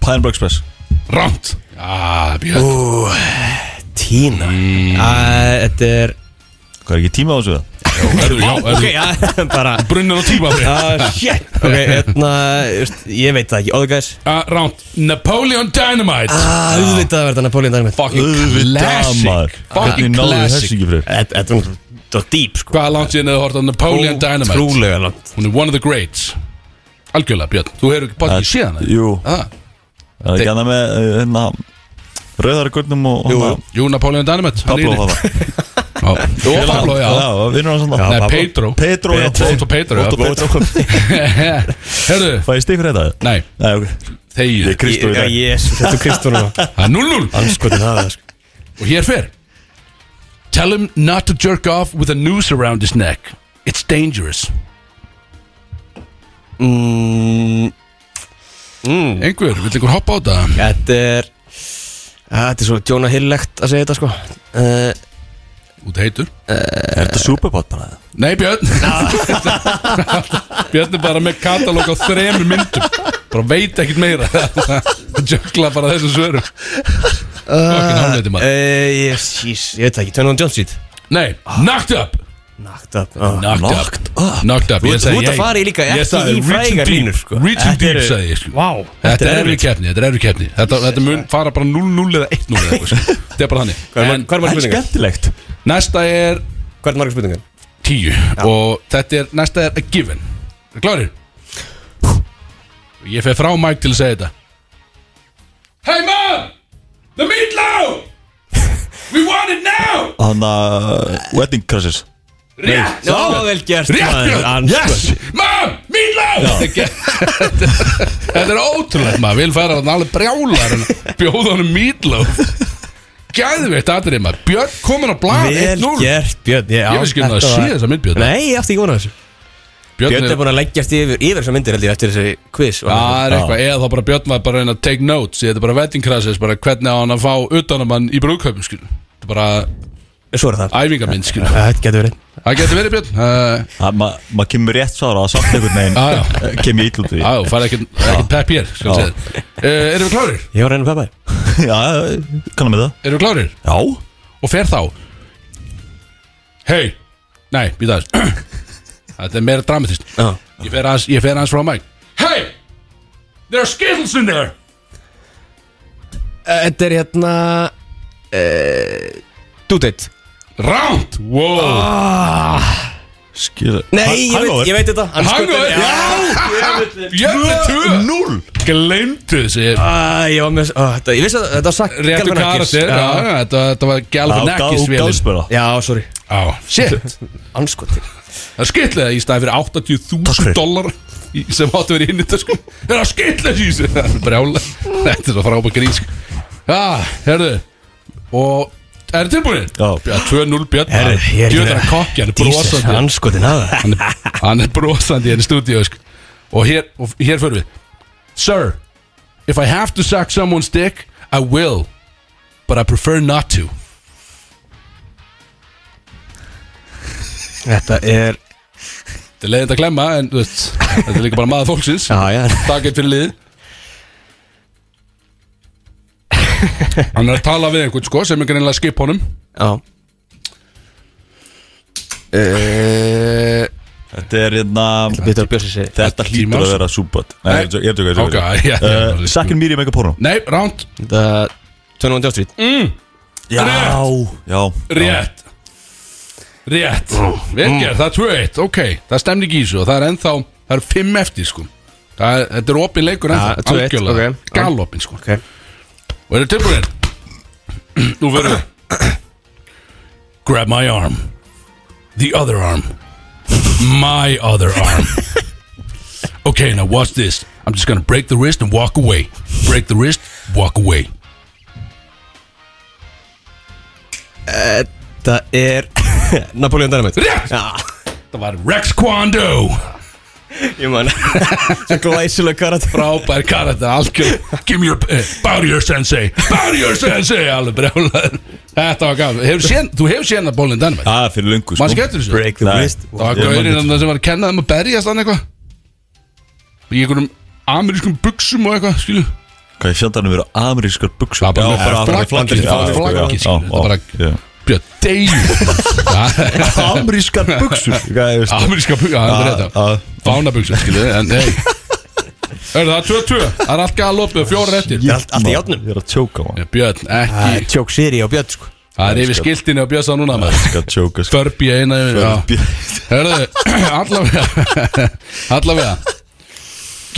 Pineapple Express Ramt Ah, Björn Tína Æ, Þetta er Hvað er ekki tíma á þessu það? Erðu, já, Ok, erðu já, bara Brunnin og tíma Ah, shit Ok, hérna, þú veist, ég veit það ekki Óðu gæs ah, Ramt Napoleon Dynamite Ah, auðvitað verða Napoleon Dynamite Fucking classic Hvernig Fucking náðu þessu classic ekki fyrir? Þetta þetta er svona- þetta er dýp, sko Hvað er langt síðan eða hort á Napoleon Dynamite? Trúlega langt Hún er one of the greats Algjörlega, Björn Þú hefur ekki bátt í síðan eða? Jú Ah, Það er ekki annað með uh, hérna Rauðar gurnum og Jú, hérna, Ah. Jú, Napoleon Dynamite hann er í henni. Pablo og það Já. Og Pablo, já Já, vinnur hann svona Nei, Pedro Pedro, já, Pedro. Otto Pedro, já. Otto Pedro Herðu, Fæ ég stig fyrir þetta? nei, Nei, ok Ég þegið er Kristó í dag Jésu, þetta er Kristó núna Það er 0-0 Anskotin það er, sko Og hér fer Tell him not to jerk off with a noose around his neck It's dangerous Mm, Einhver, vill einhver hoppa á það? Þetta er að, Þetta er svo Jonah Hill-legt að segja þetta sko uh, Út heitur Er þetta superpot bara það? Nei Björn Björn er bara með katalóg á þremur myndum Bara veit ekkit meira Það jökla bara þessum svörum Fokkin hálfleiti maður Eh, uh, yes, yes, Ég veit það ekki, 21 Jump Street Nei, knocked up Knocked up uh. Knocked up Knocked Knocked up Þú Ég ert- sagði, þú ert að ég- fara í líka ég ekki sagði, í reaching frægar deep, línur, sko. Reaching Þetta deep eru- sagði ég sko. Vá, Þetta er erfið erfitt. keppni Þetta er erfið keppni Þetta, þetta mun fara bara 0-0 eða 1-0 eða eitthvað, sko. Þetta er bara þannig Hvað En er marg Það er spurningar? skemmtilegt Næsta er Hvað er marg spurningar? 10 Og þetta er Næsta er a given Klárir? Ég fer frá Mike til að segja þetta Hey man The meatloaf We want it now Þannig að uh, Wedding Crashes Rétt Já, vel gert maður, Rétt Hans. Yes Mom, meatloaf Þetta er ótrúlegt maður Vil fara þarna alveg brjálar en Bjóða honum meatloaf Gæðveitt aðrið maður Björn komin á blad Vel 1-0 gert Björn Ég, á, Ég veist ekki um það að þetta sé var- þessa mynd, Björn. Nei, ég átti ekki vona þessu Björn er búin að leggjast yfir Yfir þessar myndir held ég eftir þessi quiz og- Já, það er Ah, eitthvað, eða þá bara Björn var bara að reyna að take notes Þetta er bara wedding crashes, bara hvernig á hann að fá utanamann í brúköpum, skilu Þetta er bara Svo er það æfingarmynd, skilu Þetta getur verið Það getur verið Björn uh, Það- ma- Maður kemur rétt svara að samt einhvern veginn Já, já. eh, Kem ég ítl út í Já, þú farið ekkert ekkert pepp hér, skal Já. ég segja uh, Erum við klárir? Ég var reynið peppaði Já, kannan með það Erum við klárir? Já Og fer þá Hei Nei, býta þess Þetta er meira dramatist Já. Ég fer aðeins, ég fer aðeins frá mæg Hey There are skittles in there Þetta er hérna eh, Due date Round Wow Skil Nei, ég veit, ég veit þetta Hann Hangover skoði- Já, Já Jöfnir 0 2 Gleimtu þessi Æ, Ég var með Ó, þetta- Ég vissi að þetta var sagt Réttu Galvanakis. karakter Já, já, þetta þetta var Galvanakis Þú vélin. gafst bara Já, sorry Já, shit Anskotir Það er skittlega í staði fyrir 80.000 dólar sem áttu verið inn í þetta sko Það er að skittlega í þessu Það er brjála Þetta er svo frábæk grís Já, herðu Og er þið tilbúinir? Já. 2-0 Björn Björn er að kokki, hann er brosandi Anskotir náða hann er, hann er brosandi hérna í stúdíu sko. og hér, og hér fyrir við Sir, if I have to suck someone's dick I will but I prefer not to Þetta er Þetta er leiðind að klemma en þú veist, þetta er líka bara maður fólksins Já, já Takk eitt fyrir liðið Hann er að tala við einhvern sko sem er greinlega að skipa honum Já Uh, Þetta er hérna Bitur að bjössi sig Þetta Tíma hlýtur ás- að vera súbbat Nei, Nei. ég tjóka, ég tjóka, ég tjóka Ok, já, já, já. Eh, Second Miriam eitthvað porno Nei, ránt, Þetta 21. ástrít Já Já rétt Rétt Mm. Velger, það er 2-1, ok Það er stemning í þessu og það er ennþá Það er 5 eftir sko það er, Þetta er opin leikur Ja, ennþá 2-1, algjörlega, ok. Galopin sko Ok. Og eru tilbúinir? Nú verður við Grab my arm The other arm My other arm Okay, now watch this I'm just gonna break the wrist and walk away Break the wrist, walk away Þetta er Napoleon Dynamite Rétt! Það var Rex Kwando Ég man Svo glæsilega karat frábær karata algjör give me your uh, bow to your sensei bow to your sensei alveg brjálaður þetta var gaf hefur séð þú hefur séð að bólinn Danmark Það er fyrir löngu sko maður skemmtur þessu Break the Nei. wrist það var Ég gaurinn man hann sem var að kenna þeim að berjast hann eitthvað í einhverjum amerískum buksum og eitthvað skilu Hvað ég fjöndanum eru amerískar buksum það var bara bara flaggið Já, flaggið já, skilu já, það bara já. björn deyju Amerískar buksum Hvað ég veist ameríska buksum það er Já, þetta já. fána buksum skilu en nei Hörðu, það er 2-2 það er allt galopið fjóra réttir er allt- allt í járnum. Ég er að tjóka maður Björn ekki Tjók Siri á Björn sko Það er yfir skiltinu að bjösa núna maður Ég er að tjóka sko Förbi eina yfir já. Hörðu, allavega Allavega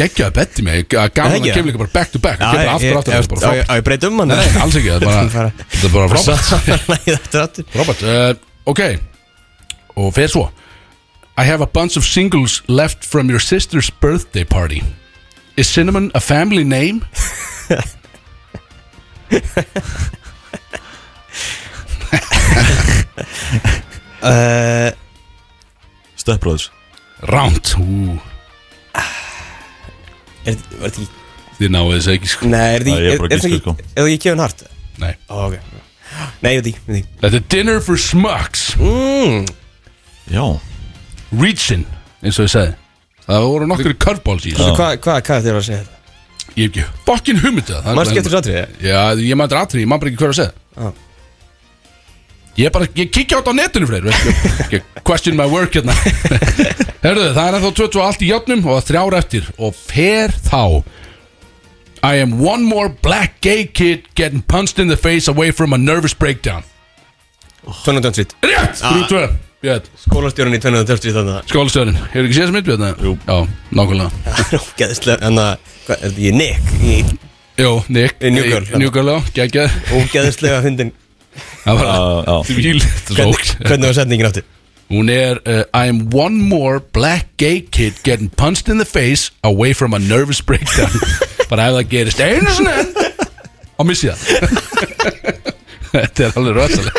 Gekkjaði betti mig að gaman að Nei, ekki. kemur líka bara back to back Kemur aftur aftur aftur bara frábært. Á ég breyta um hann Nei, alls ekki, það er bara Bara- Þetta er bara frábært Nei, þetta er aftur Frábært, uh, ok Og fer svo I have a bunch of singles left from your sister's birthday party Is Cinnamon a family name? Uh, Stepbróðs Round Ú, Er var þetta ekki Þið náðu þessu ekki sko Nei, er þetta Nei, ég er ekki bara Er þetta gíska, ekki sko. Er þetta ekki Kevin Hart? Nei. Ó, ok Nei, ég veit ekki, veit ekki Mm, Þetta er Dinner for Smucks Já reaching eins og ég sagði það voru nokkru curveballs í þessu Hvað hva, hva, hvað þetta er að segja þetta? ég hef ekki fokkin humið það Manstu ekki eftir þessu atriði? já ég maður atrið ég maður bara ekki hver að segja Já. Ég bara, ég kikki á þetta á netinu fyrir veistu. Ég Question my work hérna Herðu, það er ennþá 20 og allt í játnum og það er þrjár eftir og fer þá I am one more black gay kid getting punched in the face away from a nervous breakdown Tönundjón Street Rétt! Þrjú tvö Björn, Skólastjórun í Tönundjón Street þannig skólastöðurinn Hefur ekki séð þess mynd við þetta? Jú. Já, nákvæmlega að Ógeðslega En að Hvað er því? Nick Í Jú, Nick New Girl. Njúkörl, já, geggjað ógeðslega hundin Það var Uh, Já, já. Þvíl Þetta er Ah. Hvernig, svo hvernig var setningin áttu? Hún er uh, I am one more black gay kid getting punched in the face away from a nervous breakdown bara ef það gerist einu sinni enn, þá missi ég það Þetta er alveg rosaleg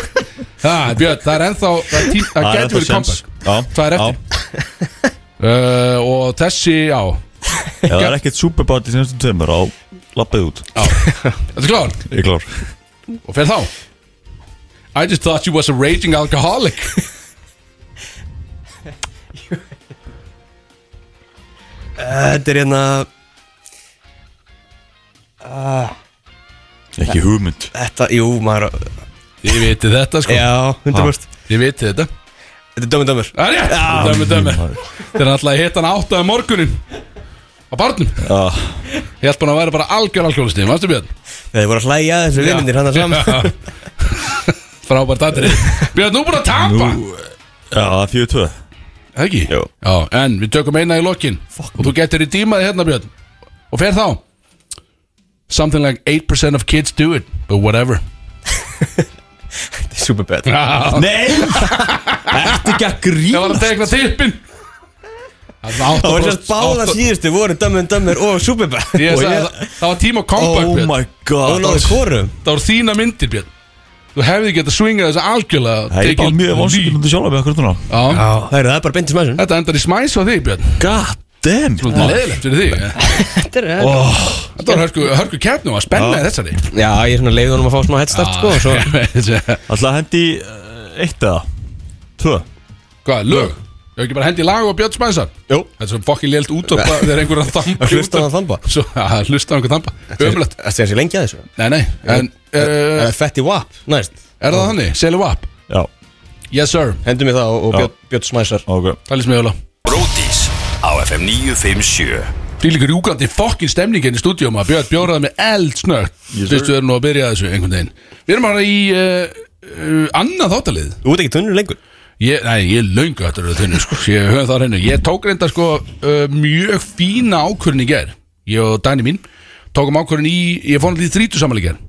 ah, Björn, það er ennþá það, er tím, það Það er getur ennþá verið séns. comeback Já, Það er eftir uh, Og þessi, já, Já, það er ekkert superbad í senastum tveimur á lappið út já. Þetta er klár Ég er klár Og fyrir þá I just thought you was a raging alcoholic Þetta er hérna Ekki hugmynd Þetta, jú, maður Þið vitið þetta sko Já, hundar mörst Þið vitið þetta Þetta er dömur dömur Það er rétt Dömmi, dömmi Já, Þeir er alltaf að hitta hann áttaði morgunin um Á barnum Ég held búin að vera bara algjör alkoholisti Manstu Björn? Þeir voru að hlæja að þessu vinnir hann að saman Frábært aðrið Björn, nú búin að tapa Nú- já það er fjöðu tvö Það ekki? Jú. Já, en við tökum eina í lokin Og þú getur í tímaði hérna Björn Og fer þá Something like 8% of kids do it But whatever Þetta er superbad Já, Nei Ertu ekki að Ég var grína að tekna tippin Það Það var sérst báða síðustu voru dömur dömur og superbad Ég Og sagði ég- það, það var tíma comeback Oh Björn my Og god hún áður korum Það voru þína myndir Björn Þú hefði getað swingað þessu algjörlega og Það er tekið bara mjög lí- vonsvíkjum sjálf með okkur núna Já, Það er það er bara beint í smæsum Þetta endar í smæs á þig Björn God damn Svolítið leðilegt fyrir þig eh? Þetta var hörku, hörku keppnum að spenna í þessari Já, ég er svona leið honum að fá smá headstart sko og svo Alltaf að hendi í, eh, eitt eða Tvö Hvað, lög? Ég hef ekki bara hendi í lag og Björn Spænsar Jú. Þetta er svo fokkin lélt út og það er einhverjum að þampa Að hlusta á hann þamba. Svo, að hlusta á einhver þamba Ömulegt Það sé að sé lengi að þessu Nei, nei En uh, Eh, Fatty Wap Næst er það þannig? Sailor Wap Já, Yes sir Hendur mig það og- og Björn- Björn Smæsar ok Það lýst mig öla Brótis á FM 957 Fylgur rjúkandi fokkin stemningin í stúdíum að Björn bjóraði með eld snögt Yes, sir. Þú veist, við erum nú að byrja þessu einhvern veginn Við erum bara í uh, uh, annað þáttalið Þú ert ekki tunnur lengur Ég, nei, ég er löngu eftir að þunni sko. Ég höfði það á hreinu Ég tók reynda sko, uh, mjög fína ákvörðin í ger Ég og Dani mín Tókum ákvörðin í, ég fór hann því þrítu saman í ger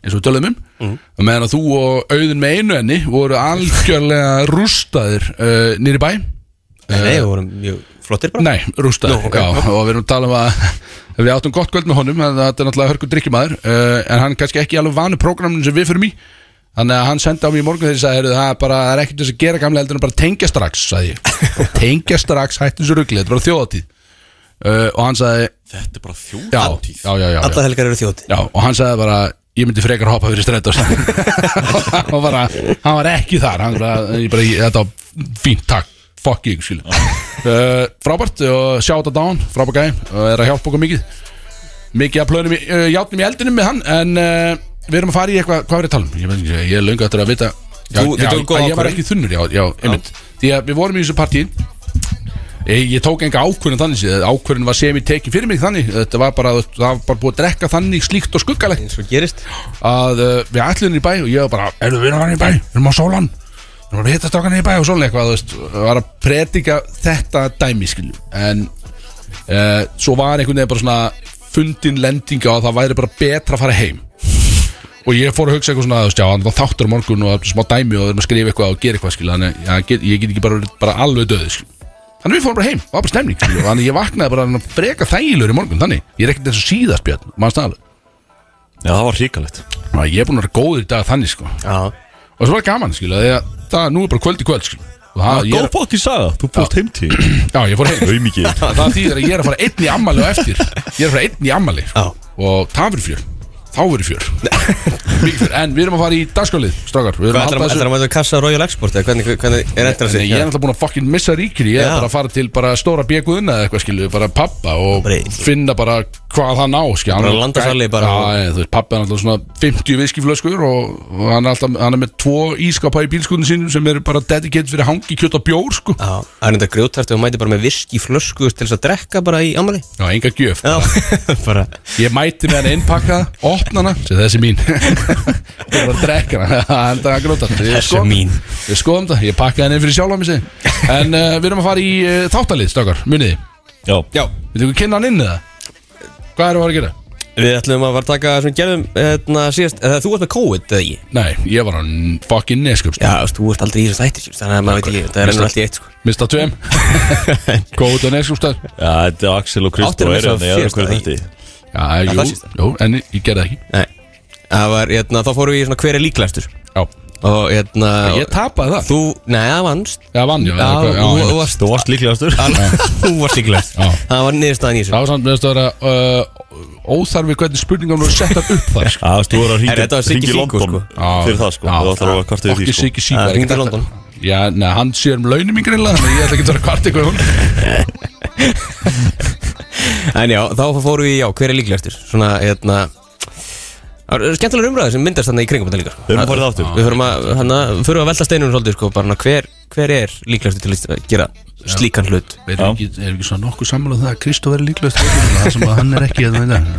Eins og við tölum um mm. Meðan að þú og auðin með einu enni Voru algjörlega rústaðir uh, Nýri bæ Nei, við vorum mjög flottir bara Nei, rústaðir Nú, ok. já, Og við erum að tala um að Við áttum gott kvöld með honum en Þetta er náttúrulega hörku drikkjumæður uh, En hann er kannski ekki alveg vanu prógraminu sem við fyrir mig Þannig að hann sendi á mig í morgun þegar ég sagði "Heyrðu, Það er bara, það er ekkert þess að gera gamlega heldur en bara tengja strax sagði ég Bara Tengja strax, hættu þessu rugli, þetta var þjóðatíð uh, Og hann sagði Þetta er bara fjóð Já, já, já, já, já. Alla helgar eru þjóti já Og hann sagði bara, ég myndi frekar hoppa fyrir strætt og hann var bara, hann var ekki þar Hann bara, ég bara, ég, þetta var fínt, takk Fuck you, skilu uh, Frábært, og sjá þetta dán, frábært gæði Og er að hjálpa okkur mikið Mikið að plönum, í, uh, játnum í eldinum með hann En uh, við erum að fara í eitthvað, hvað er að tala um? Ég, veit ekki, ég er löngu eftir að vita Já, Þú- þið já, tókuð góða ég var ákvörðun. ekki þunnur, já, já, einmitt Því að við vorum í þessu partíin Ég, ég tók enga ákvörðin þannig séð, ákvörðin var sem ég tekið fyrir mig þannig Þetta var bara, það var bara búið að drekka þannig slíkt og skuggalegt Eins og gerist að uh, við ætlum í bæ og ég var bara, erum við erum að fara í bæ, við erum á sólan við erum að hitta strákan í bæ og sólan eitthvað þú veist, var að predika þetta dæmi skilju, en uh, svo var einhvern veginn bara svona fundin lendinga og það væri bara betra að fara heim og ég fór að hugsa eitthvað svona, þú veist, já, hann var þáttur á morgun og það er smá dæmi og við erum að skrifa eitthvað og gera eitthvað skilju, þannig að ég get, ég get ekki bara, verið bara alveg döði skilju Þannig við fórum bara heim, það var bara stemning skilju, Þannig ég vaknaði bara svona freka þægilegur í morgun Þannig, ég er ekkert eins og síðast björn, mann staðalveg Já, það var hríkalegt Já, ég er búin að vera góður í dag þannig sko Og Já svo var gaman skilja Þegar það nú er bara kvöld í kvöld skilja Og það, ég Go er, fucking saga, þú fórst heim til já, ég fór heim Auðmikið Það þýðir að ég er að fara einn í ammali og eftir Ég er að fara einn í ammali sko. Og það verður fjör Þá verður fjör Mikið fjör En við erum að fara í dagskálið Strákar Við erum Hvað að ætlar halda að- ætlar þessu að mæta að kassa á Royal Export eða hvernig, hvernig er þetta að En ég er segja? náttúrulega búin að fucking missa ríkir Ég er Já. bara að fara til bara stóra bjeguðuna eða eitthvað skilju Bara pappa og Bara- finna bara hvað hann á skil, hann Bara landasali bara. já, ég, þú veist, pappi er alltaf svona 50 viskiflöskur og, og hann, er alltaf, hann er með tvo ískapa í bílskutinu sínum sem eru bara dedicated fyrir hangi, kjöt og bjór sko. Já, það er enda grjótart og hún mæti bara með viski flösku til þess að drekka bara í amali já, enga gjöf Já, bara ég mæti með hann innpakkaða, opna hana sem þessi er mín ég var að drekka hana, hann er að gróta Þessi er mín. ég skoðum það, ég pakkaði hann inn fyrir sjálf á mig sig en uh, við erum að fara í uh, þáttalið stakar, muniði, Já, Já, við þau kynna hann inn eða hvað erum við að fara að gera? við ætlum að var að taka sem við gerðum hérna síðast eða Þú ert með COVID eða ég Nei, ég var hann fucking neskup Já, þú veist, þú ert aldrei í þessu þætti sjúst, Þannig að maður veit ekki, það er ennur allt í eitt sko Mista tveim Góð og neskúrstæð já þetta er Axel og Kristó Áttir og að Eirinn missa í öðru fyrsta, hverju ekki? þætti Já, jú, það síðasta? jú, en ég ég gerði það ekki Nei, það var, hérna, þá fórum við í svona hver er líklegastur Já, Og hérna ég tapaði það Þú, neða, vannst Já, vann, já, já, Já, já, þú- já þú varst Þú varst líklegastur Þú varst líklegast Já. Það var niðurstaðan í Það þessu var samt meðast að vera uh, óþarfi hvernig spurningum voru settar upp þar sko. Já, þú veist, þú voru að Herra, þetta ringi- var ringi í Siggi Siggo, London sko. Já, fyrir það sko já, Þú ætlar að já. vera kvart yfir Okki því sko Siggi Siggi Það var ekki hringdi í þetta. London. Já, neða, hann sér um launin mín greinlega Þannig að ég ætla ekki að vera kvart ykkur um hún En já, þá fórum við í, já, hver er líklegastur Svona, hérna Það eru skemmtilega umræður sem myndast þannig í kringum þetta líka sko. Við erum að fara í það aftur. Við förum að, hana, förum að velta steinunum svolítið sko, bara, hana, hver, hver er líklegastur til að gera slíkan hlut Við erum ekki, er ekki svona nokkuð sammála um það að Kristó verið líklegast Það sem að hann er ekki að það Já,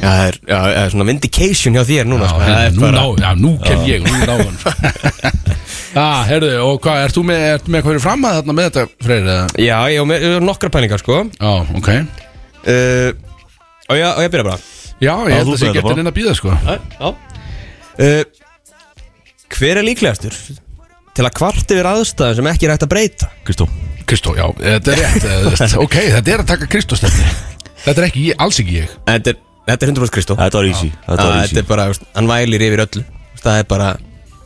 það er, já, það er svona vindication hjá þér núna Já, sko. hérna, Það er nú, bara- ná, já, nú kem ég, nú ná hann Já, heyrðu, og hvað, ert þú með, ert með hvað fyrir fram að þarna með þetta, Freyr? eða? Já, ég var með ég var nokkra pælingar sko uh, Já, ok og, já, og ég byrja bara Já, ég held þú að sé ferð ekki bara. eftir inn að býða, sko Já uh, Hver er líklegastur til að kvart yfir aðstæðum sem ekki er hægt að breyta? Kristó Kristó, já, þetta er rétt eh, þú veist, Ok, þetta er að taka Kristó stefni Þetta er ekki ég, alls ekki ég Þetta er, þetta er 100% Kristó Þetta var easy Þetta var Þetta easy er bara, veist, hann vælir yfir öllu Það er bara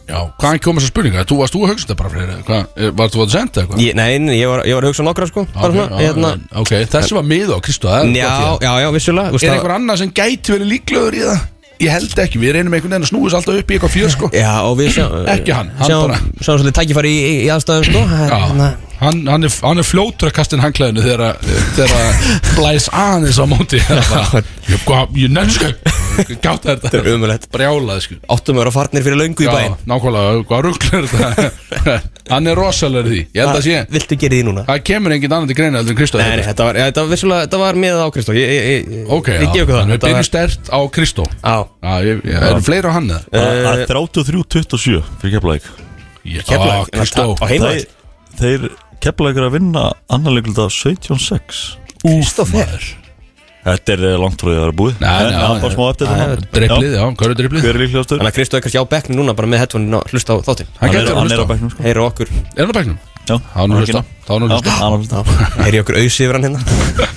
Já, hvaðan kom þessar spurningar? Þú varst þú að hugsa þetta bara, Freyr eða hvað, eh, Varst þú að senda eitthvað? ég, Nei, nei, ég var, ég var að hugsa nokkra sko bara, Ok, svona, já, hérna, en- ok, þessi var mið á Kristó það er gott, já, já. já, já, vissulega veist, Er það- einhver annar sem gæti verið líklegur í það? Ég held ekki, við reynum einhvern veginn að snúiðs alltaf upp í eitthvað fjör, sko Já, og við sjá, Ekki hann, hann sjáum, bara. Sjáum svolítið tækifæri í, í, í aðstæðum sko Það er Já, hérna- hann, hann, er, hann er fljótur að kasta inn hangklæðinu þegar að- þegar að blæs aðeins á móti Það er bara, Ég, hvað- ég nennsku Gátt þetta Þetta er umulett Brjálaði sko Áttum að vera farnir fyrir löngu í Já, bæinn nákvæmlega, hvað rugglar þetta Hann er rosalegur í því, ég held að sé Viltu gera því núna? Það kemur enginn annan til greina heldur en Kristó Nei, nei, þetta var, já, þetta var vissulega, þetta var með á Kristó Ég, ég, ég, Ok, ég já, gef okkur það við Þetta byrjum var- stert á Kristó Já, Já, ég, ég, eru fleiri á hann eða? Það er 33-27 fyrir Keflæk Ég- Á, Keflavík, en Kristó það- á heimavæll. Þeir Keflæk er að vinna annar leikluta 17-6 Kristó fer Þetta er eh, langt frá því að vera búið Nei, nei, En það er nei. bara smá eftir þetta Driplið, já, hvað er driplið? Hver er líklegastur? Þannig að Kristó er kannski á bekknum núna bara með headphonein og hlusta á þáttinn Hann Hann getur er- að hann er á hlusta bæknum sko Heyra okkur Er hann á bæknum? Já, Þá er nú að hann er hlusta, ekki- þá er nú að Já, hlusta hann er að hlusta Heyri okkur auðs yfir hann hérna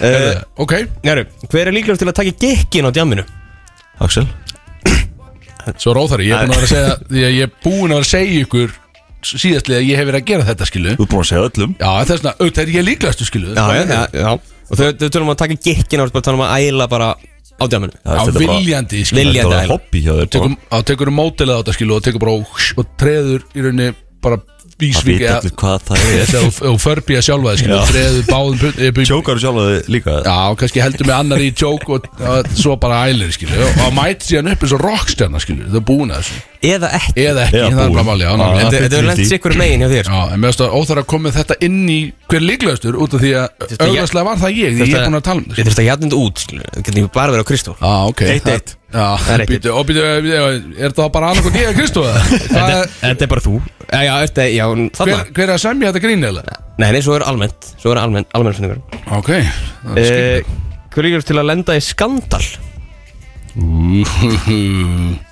Eh, Eh, Ok, Jæru, hver er líklegast til að taka gekkin á djamminu? Axel svo róþari, ég er búin að vera að segja Því að ég er búin að vera að segja ykkur Síðastlega að ég hef verið að gera þetta skilu Þú er búin að segja öllum Já, þess vegna, auðvitað er ég líklegastu skilu já Og þau, þau tölum um að taka gekkin á, bara tölum að æla bara á djamminu Það Á er þetta bara- viljandi skilu Vilja- Þetta Viljandi var æla. hobby hjá þér bara. tekur, á, tekur mótilega á þetta skilu og tekur bara og, og treður í rauninni bara Það vísvík veit eða allir hvað það er eða þú- þú förbíða sjálfa þig skilu Já. treður báðum put- upp í- Tjókar sjálf að þið líka já, kannski heldur með annar í tjók og og svo bara ælir skilu og og mætir síðan upp eins og rockstjarnar skilu þau er búin að þessu Eða ekki eða ekki, Eða það er búin. bara máli já, Já. nákvæmlega. Þetta þetta er 50-50. lent sikkur megin hjá þér Já, en mér finnst það óþar að koma með þetta inn í hver líklegastur út af því að Þetta- auglanslega var það ég því ég er búin að tala um Ég þetta þurfti að hjarnind út, skilur Þú getur ekki bara verið á Kristó Já, ok Eitt, Það- eitt. Já, Það er eitt, eitt. býtu, og býtu, er það bara annað hvað ég að Kristó eða? Hvað er- Þetta er bara þú Eh, Já, já, þetta er, já, þarna Hver hver er að semja þetta grín eða? Nei, nei, svo er almennt Svo er almennt, almennt finningur Ok, það er Eh, Hver líkast til að lenda í skandal? skil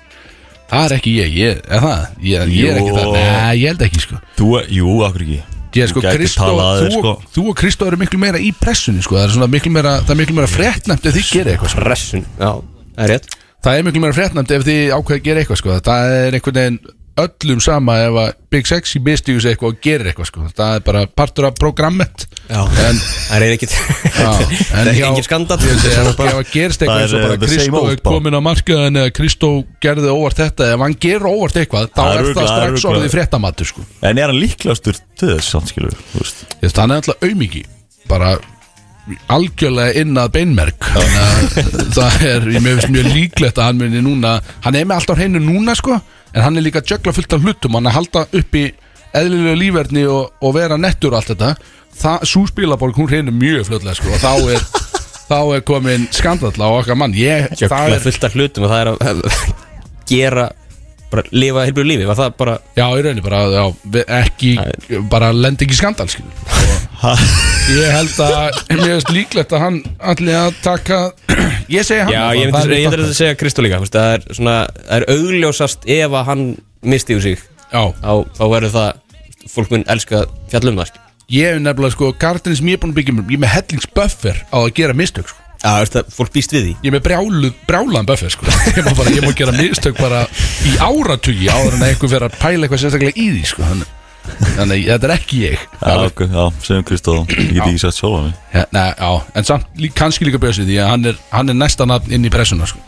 Það er ekki ég, ég er það? Ég, ég er ekki það, Jú. nei, ég held ekki sko Þú, jú, akkur ekki Ég er sko, Þú gætir Kristó, talað að þér, þú, sko. þú og Kristó eru miklu meira í pressunni sko Það er svona miklu meira, það er miklu meira fréttnæmt ef þið gerir eitthvað sko Pressun Já, það er rétt Það er miklu meira fréttnæmt ef þið ákveða að gera eitthvað sko Það er einhvern veginn öllum sama ef að Big Sexy mistigur sig eitthvað og gerir eitthvað sko Það er bara partur af programmet Já En Það er ekkert Það Það er engin skandall Ég segi að bara gerist eitthvað Það eins og er, bara uh, the same Kristó old er bara. komin á markaðin eða Kristó gerði óvart þetta ef hann gerur óvart eitthvað þá Það er er það örugglega- það er strax orðið örugglega- fréttamattu sko En er hann líklegastur til þess, samt skilur við, þú veist? Ég veist, hann er alltaf aumingi bara algjörlega inn að beinmerk þannig að það er ég mér finnst mjög líklegt að hann muni núna hann er með allt á hreinu núna sko en hann er líka að jökla fullt af hlutum hann er að halda upp í eðlilega lífverðni og, og vera nettur og allt þetta það, sú spilaborg hún hreinu mjög fljótlega sko og þá er, þá er komin skandall á okkar mann ég, það Jökla er, fullt af hlutum og það er að gera bara lifa heilbrið lífi var það bara já í rauninni bara já, við- ekki, bara lendi ekki í skandall skil ég held að mér finnst líklegt að hann allir að taka ég segi hann já allan, það er ég myndi, mitt ég myndi okkar. að segja Kristó líka þú veist, það er svona það er augljósast ef að hann misti úr sig Já, á, þá verður það fólk mun elska að fjalla um það skilur. ég hef nefnilega sko Gardin sem ég er búin að byggja mér, ég er með hellingsbuffer á að gera mistök sko já þú veist það fólk býst við því Ég er með brjálu, brjálan buffer sko ég má, bara, ég má gera mistök bara í áratugi áður en að einhver fyrir að pæla eitthvað sérstaklega í því sko Þannig, þannig að þetta er ekki ég Já, ok, já, segjum Kristóð Ég get ekki sagt sjálf á mig ja, nei, á, En samt lí, kannski líka bjössi því að hann er, hann er næsta nafn inn í pressuna sko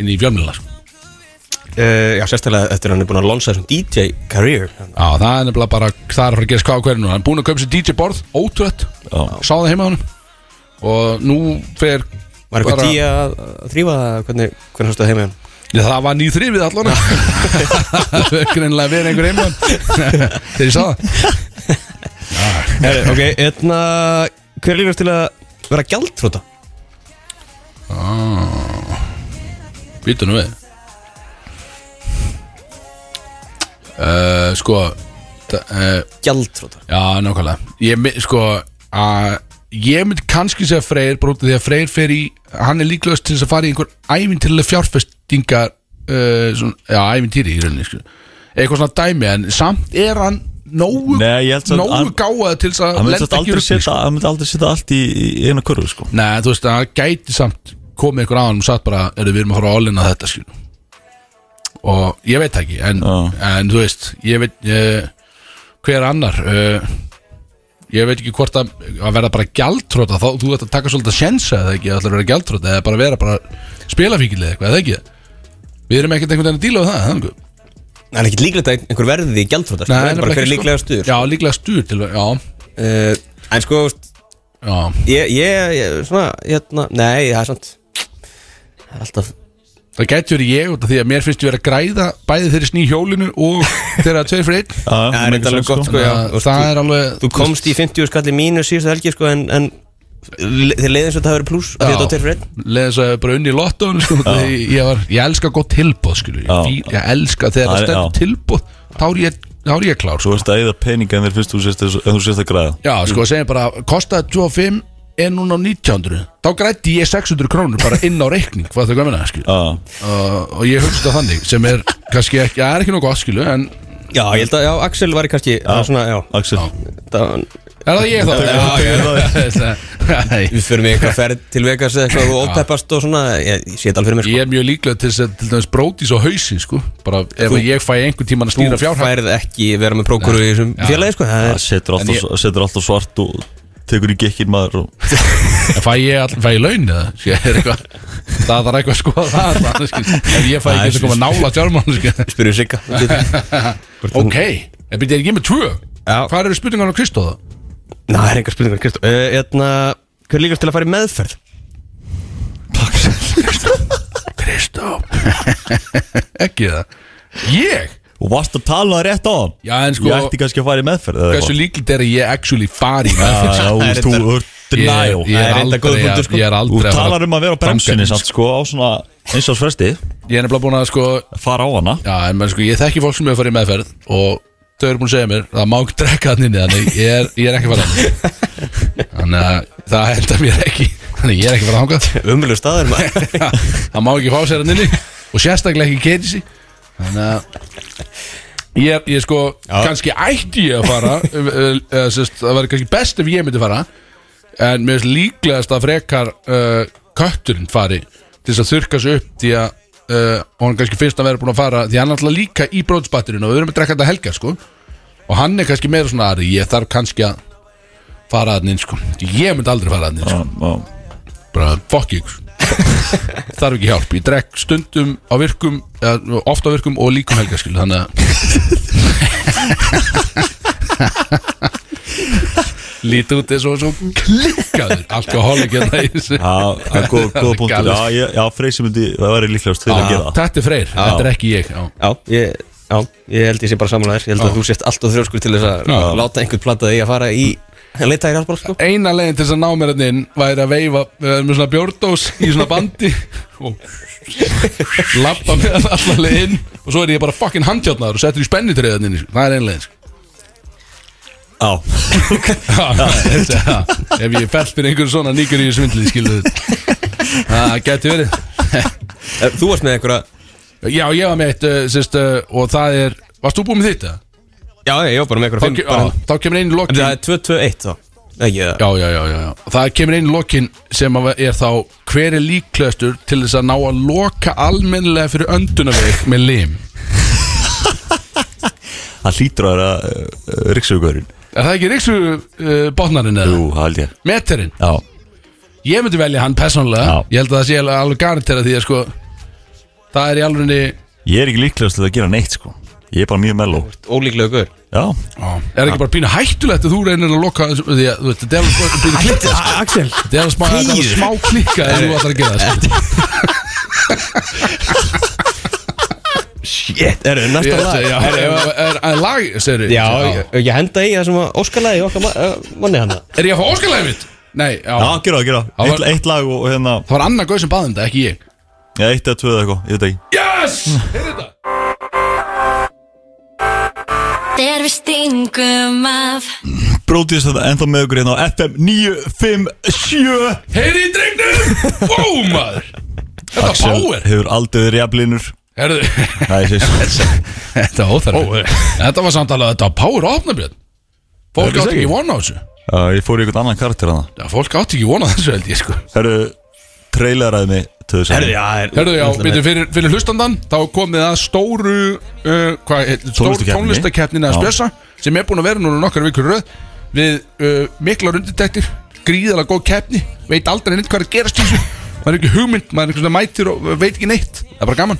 Inn í fjölmjöla sko uh, já sérstaklega eftir að hann er búin að lonsa þessum DJ career Já, það er nefnilega bara, það er að fara að gerast hvað á hverju nú Hann er búin að kaupa sér DJ borð, ótrött Já. Sá það heima á hann Og nú fer var eitthvað bara- tí að, að þrýfa það? hvernig hvernig hóstaði heim með hann Já, það var nýþrifið allan Það er greinlega verið einhver einmann Þegar ég sá það Heri, ok etna hver er líkast til að vera gjaldfróta Býtu nú við uh, Sko uh, gjaldfróta Já, nákvæmlega Ég, mi- sko, að Ég myndi kannski segja Freyr bara út af því að Freyr fer í Hann er líklegast til þess að fara í einhver ævintillega fjárfestingar uh, svona, Já, ævintýri í rauninni sko. Eitthvað svona dæmi En samt er hann nógu, Nei, ég held samt nógu hann- gáða til þess að Hann myndi lenda samt ekki aldrei upp setja Hann myndi aldrei setja allt í, í eina körfu sko Nei, þú veist að það gæti samt komið ykkur á hann og satt bara, eru við erum að fara að álinna þetta skil og ég veit það ekki en, Já. en þú veist, ég veit uh, hver annar uh, ég veit ekki hvort að, að verða bara gjaldtróta, þá þú veit að taka svolítið að sjensa eða ekki, ætlar að vera gjaldtróta eða bara vera bara spilafíkil eða eitthvað, eða ekki við erum ekkert einhvern veginn að díla við það, það er einhver- það er ekki líklegt að einhver verði gjaldfróta Nei, það er bara nefnilega hver er ekki, sko. líklega Já, líklega stuður stuður til, já, uh, En sko, veist, já, ég, ég, ég svona, hérna, nei, það er sant Það er alltaf það gæti verið ég út af því að mér finnst ég vera að græða bæði þeirri sný hjólinu og þeirra tveir fyrir einn Já, Það mikið er reyndar alveg sens, gott, sko. sko, já. Þannig að Og það er alveg Þú komst í 50 skalli mínu síðustu helgi, sko, en, en le- þér leiðin svo þetta hafi verið pluss að þetta á tveir fyrir einn leðið svo bara unni í lottónu sko, því ég, var, ég elska gott tilbóð skilur, ég, Já. fíl, ég elska þegar Það það er- stendur já. tilbóð þá er ég, þá er ég klár Svo sko. veist að eða peninga en þér finnst þú sést að- en þú sést að græða já sko Mm. segjum bara kostaði 25 en núna á 1900 þá grætti ég 600 krónur bara inn á reikning hvað þau gæmina skilur Já, uh, og ég hugst á þannig sem er kannski ekki, það er ekki nokkuð skilur en Já, ég held að, já, Axel var í kannski já. svona, já, Axel það, er það ég þá? Já, já, Nei. Við förum í eitthvað ferð til Vegas eða eitthvað og ópeppast og svona, ég, ég sé þetta alveg fyrir mér, sko. ég er mjög líklega til þess að til dæmis brótis á hausin sko bara ef Þú- ég fæ einhvern tíman að sko stýra Þú fjárhæð færð ekki vera með prókuru í þessum Já. félagi, sko Það Það er, setur En ég- alltaf, setur alltaf svart og tekur í gekkin maður og En fæ ég all, fæ ég laun eða? Sé, er eitthvað, það þarf eitthvað að skoða það það, skil. Ef ég fæ ekki þess að koma nála fjármánu spyrjum sigga Ok, en byrja ég er með tvö Hvað eru spurningar á Kristóða? Ná, það er einhver spurningar, Kristó uh, Hérna, hver er líkast til að fara í meðferð? Kristó Ekki það Ég? Og varst að tala það rétt á hann Já, en sko- Ég ætti kannski að fara í meðferð eða Hversu eitthvað líklegt er að ég actually fari í Já, meðferð? já, þú veist, þú ert denial Ég er Það er enda góð aldrei punktur, að sko. Ég er Þú aldrei að talar um að vera á bremsunni samt sko á svona eins og fresti Ég er nefnilega búin að sko fara á hana Já, en menn sko, ég þekki fólk sem hefur farið í meðferð og þau eru búin að segja mér það má ekki drekka hann inni, þannig ég er, ég er ekki farið hann þannig að það henda mér ekki þannig ég er ekki farið hangað Umvölu staður, maður það má ekki fá sér hann inni og sérstaklega ekki keiri sig þannig að ég, ég sko, kannski ætti ég að fara eh, eða, eða, sérst, það væri kannski best ef ég myndi fara en mér finnst líklegast að frekar uh, kötturinn fari til þess að þurka sig upp því að uh, hann kannski finnst að vera búin að fara því hann er alltaf líka í bróðsbatterinu og við erum að drekka þetta helgar sko og hann er kannski meira svona aðri ég þarf kannski að fara að hann inn sko ég myndi aldrei fara að hann inn sko Já, já. bara fuck you þarf ekki hjálp, ég drekk stundum á virkum, eða, oft á virkum og líkum helga skil, þannig að Lítið út eins og svo klikkaður Alkohólik hérna í þessu Já, það er góð, góð punktur Já, ég, já Freysi myndi, það væri líklegast til að gera það Þetta er Freyr, þetta er ekki ég já. Já, ég, já, ég held ég sé bara samanlega þér Ég held að þú sért allt og þrjóskur til þess að Já. láta einhvern platta því að fara í Leita í rafból, sko Eina leiðin til þess að ná mér hérna inn væri að veifa eh, með svona bjórdós í svona bandi og lappa með hann allar leiðin og svo er ég bara fucking handjátnaður og settur í spennitriðan inn í, sko. það er eina leiðin sko. Já, Já, þetta, já, ef ég fell fyrir einhverjum svona nýgur í svindli skilu það geti verið Eh, Þú varst með einhverja já ég var með eitt uh, sérst, uh, og það er, varst þú búinn með þetta? Já, ég var bara með Þá, einhverja ke- fimm bara- já, þá kemur einu En lokin Það er 2-2-1 þá Ekki það já, já, já, já, já. það kemur einu lokin sem að er þá hver er líklegastur til þess að ná að loka almennilega fyrir öndunaveg með lim það hlýtur að vera uh, Ríksugurinn er það ekki ríksu uh, botnarinn eða? Jú, það held ég meterinn, Já, ég myndi velja hann persónulega Já. ég held að það sé alveg- alveg garantera því að sko það er í alveg ég er ekki líklegast til að gera neitt sko Ég er bara mjög melló Ólíklega gaur Já, Er ekki bara pínu hættulegt að þú reynir að loka þessu- því að þú veist, þetta er alveg pínu klikka sko. Axel Þetta er alveg smá- þetta er alveg smá klikka ef þú ætlar að gera það sko. Shit, er það næsta Ég- lag já, Er er- er- er lag, segir Já, ég- ég henda í það sem að Óskarlæði okkar ma- eh, manni hana Er ég að fá óskalæði mitt? Nei, já já, gera það, gera Já, það Eitt- var- Eitt lag og, og hérna Það var annar gauð sem baði um þetta, ekki ég Já, eitt eða tvö eða eitthvað, ég veit ekki Yes! Heyrðu þetta Þegar við stingum af Brótiðs þetta ennþá með okkur hérna á FM 957 Heyrðu í drengnum! Ó, maður Þetta er power hefur aldrei verið jafnlinur Heyrðu Nei, ég syns Þetta var óþarfi Þetta var samt alveg, þetta var power opnabjörn Fólk Þetta átti segi ekki ég. vona á þessu Já, ég fór í einhvern annan karakter hana Já, Fólk átti ekki vona á þessu held ég sko Herru, traileraði mig til þess að já er- Herðu, já, Náttúrulega byrju, fyrir, fyrir hlustandan þá komið að stóru uh, hva, stór Tónlistakeppni. tónlistakeppnin að Já. spjösa sem er búin að vera núna nokkar vikur í röð við uh, mikla runditektir gríðalega góð keppni, veit aldrei neitt hvað er að gerast í þessu, maður er ekki hugmynd maður er einhvern veginn mætir og veit ekki neitt það er bara gaman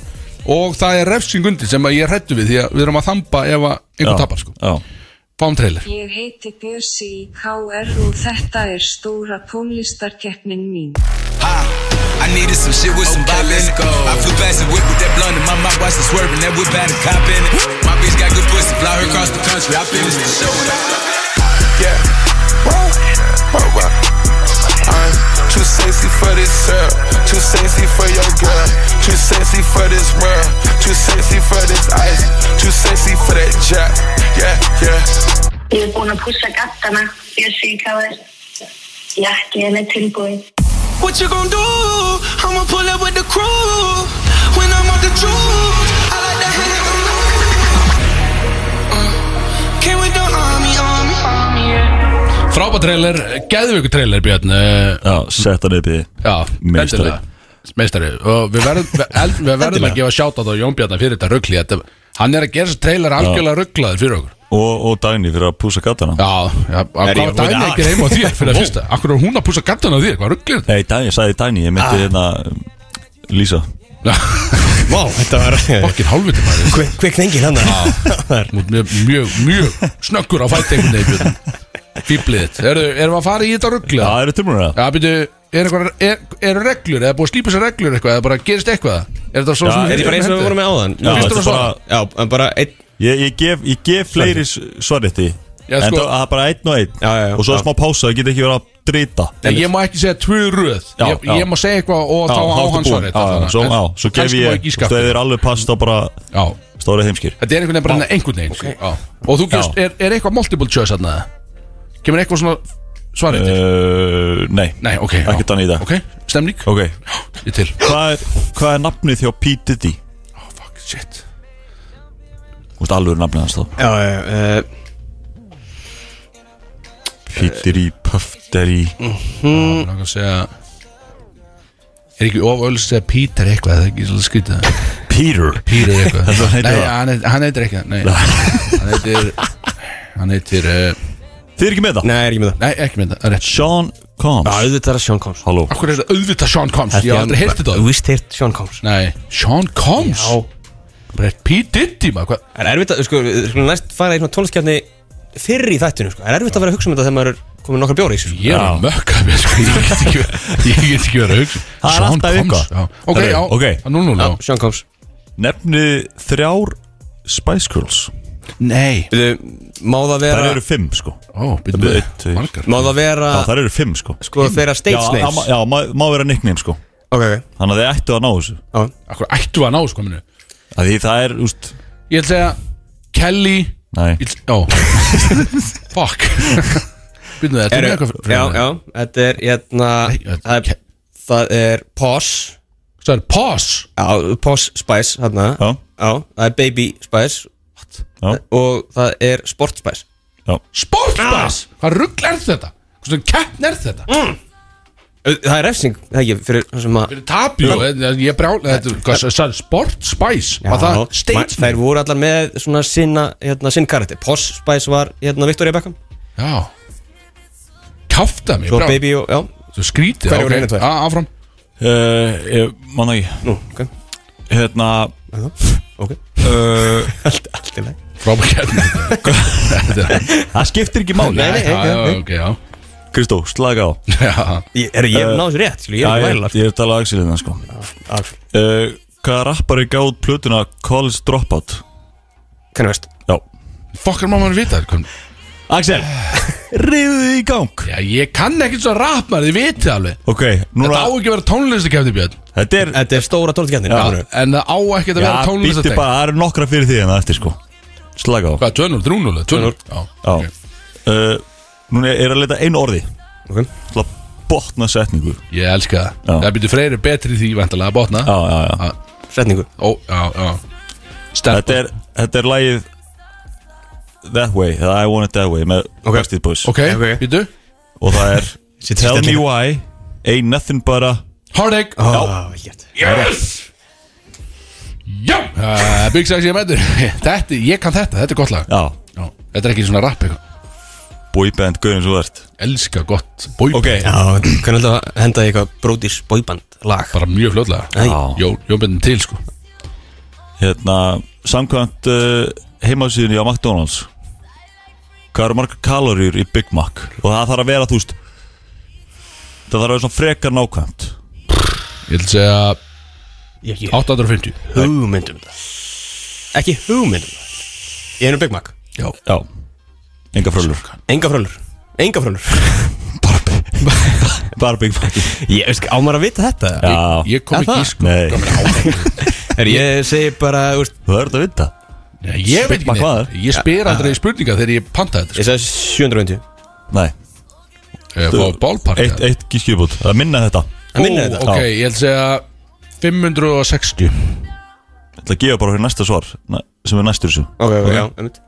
og það er refsing undir sem að ég hrættu við því að við erum að þamba ef að einhvern tapar sko, Já, fáum trailer Ég heiti Björsi í KR og þetta er stóra tónlistarkeppnin mín. I needed some shit with some bop in it. I flew past the whip with that blunt in my mouth, watched the swerving, that whip had a cop in it. My bitch got good pussy, fly her across the country, I finished the show. and I- Yeah. I'm too sexy for this sir, too sexy for your girl, too sexy for this world, too sexy for this ice, too sexy for that jack. Yeah, yeah. Ég er búin að pússa gattana, Björsi í KR. Jakkinn er tilbúin. What you gonna do? I'ma pull up with the crew when I'm on the truth. I like to hang on. Uh, Came with the army, army, army. frábært trailer, geðvöku trailer Björn uh, já sett hann upp í Já, meistari Meistari. Meistari Og við verðum, við, el- við verðum að gefa sjátt á það Jón Bjarnar fyrir þetta ruggli þetta, Hann er að gera þessi trailer algjörlega rugglaður fyrir okkur og, og Dagný fyrir að púsa gattana Já, já hvað ég- var dæmi Já. ekki heim á þér fyrir að fyrsta Akkur er hún að púsa gattana á þér, hvað rugglir þetta? Nei, Dagný, ég sagði Dagný, ég myndi Ah. hérna um, Lísa Vá, þetta var Fokkin hálfviti maður Kvik nengil hann Þú ert mjög, mjög, mjög snöggur á fætingun Fýblið þitt Eru- Erum við að fara í þetta ruggli? Já, eru tilbúinur það? Já, byrju, er eitthvað, er, eru reglur, eða búið að slípa sér reglur eitthvað, eða bara gerist eitthvað? Er þetta svo Já, sem Er ég bara eins og við vorum með áðan Já, Fyrst þetta og er svo- bara Já, en bara einn Ég, ég, gef, ég gef fleiri svarrétti Já, En sko- það það er bara einn og einn Já, já, já. Og svo Já. smá pása, það geta ekki verið að drita Nei, ég má ekki segja tvö röð Já, ég, já. ég má segja eitthvað og Já, þá á ertu hann búinn. svarið Já, já, Svo, já, svo gef Kannski má ég, ekki í þú skaftið. er alveg past á bara Já, stóra heimskir þetta er einhvern veginn bara einhvern veginn okay. Já Og þú gefst, Já. er, er eitthvað multiple choice þarna? eða? Kemur eitthvað svona svarið til? uh, Nei, Nei, ok já. ekkert annað í dag. Ok, stemning, ok ég til Hvað er, hvað er nafnið þjá P. Diddy? oh, Fuck, shit Þú veist alveg nafnið hans þá Já, já, eh. já P. Diddy, Puff Daddy Ég langar að segja Er ekki oföld að segja Peter eitthvað, það er ekki svolítið skrítið Peter Peter eitthvað Þetta heitir Nei, það. hann heitir- hann heitir ekki það, Nei, hann heitir Hann heitir, uh, Þið er ekki með það? Nei, er ekki með það nei, ekki mynda, rétt Sean Combs auðvitað er að Sean Combs Halló Akkur er þetta auðvitað Sean Combs Ég hef aldrei heyrti þetta Vist heyrt Sean Combs Nei, Sean Combs Já Brett P. Diddy maður hvað Það er erfitt að, sko, við skulum næst fara í svona tónlistkjarni fyrr í þættinu, sko Það er erfitt að vera að hugsa um þetta þegar maður er komið nokkra bjóri í sig Ég er mökka mér sko, ég get ekki verið Ég get ekki verið að hugsa Það er Sean alltaf Combs, eitthvað. já. Ok, Herru, já, Ah, ok. nú nú nú Sean Combs Nefnið þrjár Spice Girls Nei Byrju, Má það vera Það eru fimm sko Ó, byrju, Það eru byrju, eitt, tveir. margar Má það vera Já, það eru fimm sko Sko þeirra stage Já, það names má- Já, má, má vera nickname sko Ok, ok Þannig að þið ættu að ná þessu Já. Akkur ættu að ná sko minu að Því það er, úst Ég ætla að segja Kelly Nei, Ég ætla- Ó Fuck Byrju, þetta er Eru- eitthvað Já, já Þetta er hérna þetta- Það er- það er Pause Það er pause Já, Pause Spice hérna já, Já, það er Baby Spice já, Og það er Sport Spice Sportbass Hvað ruggl er þetta? Hvað svona keppn er þetta? Ö, Ah! Það er refsing, það ekki, fyrir það sem að Fyrir tapjó, ég brjál Þetta er hvað, sagði Sport Spice Var það stage Þær voru allar með svona sinna, hérna, sinn karakter Pause Spice var, hérna, Victoria Beckham Já Kjáfta mig, Svo brjál Baby og, já, Svo skrítið Hverjir voru ok. hinir tveir? Já, Áfram Uh, ég man það ekki nú, ok, Hérna ok uh, Allt, allt í læg Frábæk keppni Þetta er- sko- Það skiptir ekki máli Nei, nei, Já, já, ekki, ok, já Kristó, slaga á Eh, Já, ekki Er ég náðu þessu rétt, skilju, Uh, Já, ég er ekki ég, vælar ég er talað að Axel hérna sko uh, Hvaða rappari gáð plötuna College Dropout? Hvernig veist? Já Fokkar má maður vita þetta hvernig- Axel, riðu þig í gang Já, ég kann ekkert svo rap maður, þið vitið alveg Ok, núna Þetta á ekki að vera tónlistakefni Björn Þetta er Þetta er stóra tónlistakefnin Já, En það á ekkert að Já, vera býttu tónlistakefni bara, það eru nokkra fyrir því en það eftir sko Slaga á Hvað, 2-0, 3-0, 2-0 Já, Já uh, Núna er að leita einu orði Ok. Til að botna setningu Já, ég elska Já. það Það byrju freyri betri í því, vantarlega, að botna já, já Setningu Ó, já, já Stempa Þetta er, þetta er lagið That Way, eða I Want It That Way með Backstreet Boys Ok, Ok. býtu Og það er Tell Me stellingar. Why Ain't Nothing But A Heartache Já, vel gert Já uh, Big Sex ég mætur Þetta, ég kann þetta, þetta er gott lag Já, Já. Þetta er ekki svona rap eitthvað boyband gauðin svo ert Elska gott Bói Ok, Já, hvernig ætla að henda í eitthvað Brodís boyband lag Bara mjög fljótlega Nei, Já. Jón, Jón byrnum til sko hérna Samkvæmt uh, heimasíðinu á McDonalds Hvað eru margar kaloríur í Big Mac Og það þarf að vera, þú veist Það þarf að vera svona frekar nákvæmt Ég ætla að segja Ég hef 850 hugmyndum það Ekki hugmyndum það Ég er nú Big Mac Já Já, enga frölur Enga frölur Enga frölur Bara Big Mac Ég veist, á maður að vita þetta Já, Ég kom Er ekki það? í sko Nei. kom ekki á það. Er ég segi bara, úrst þú verður að vita Nei, Ég veit ekki Spurning hvað neitt er? Ég spyr eh. aldrei spurninga þegar ég panta þetta Ég segi 750 Nei, sko. Ég fá bálpark eitt, eitt gískjöfbútt Það er minna en þetta Það minna þetta Ok, ég ætla að segja 560 Ég ætla að gefa bara fyrir næsta svar næ- Sem er næstur þessu Ok, ok, já, einmitt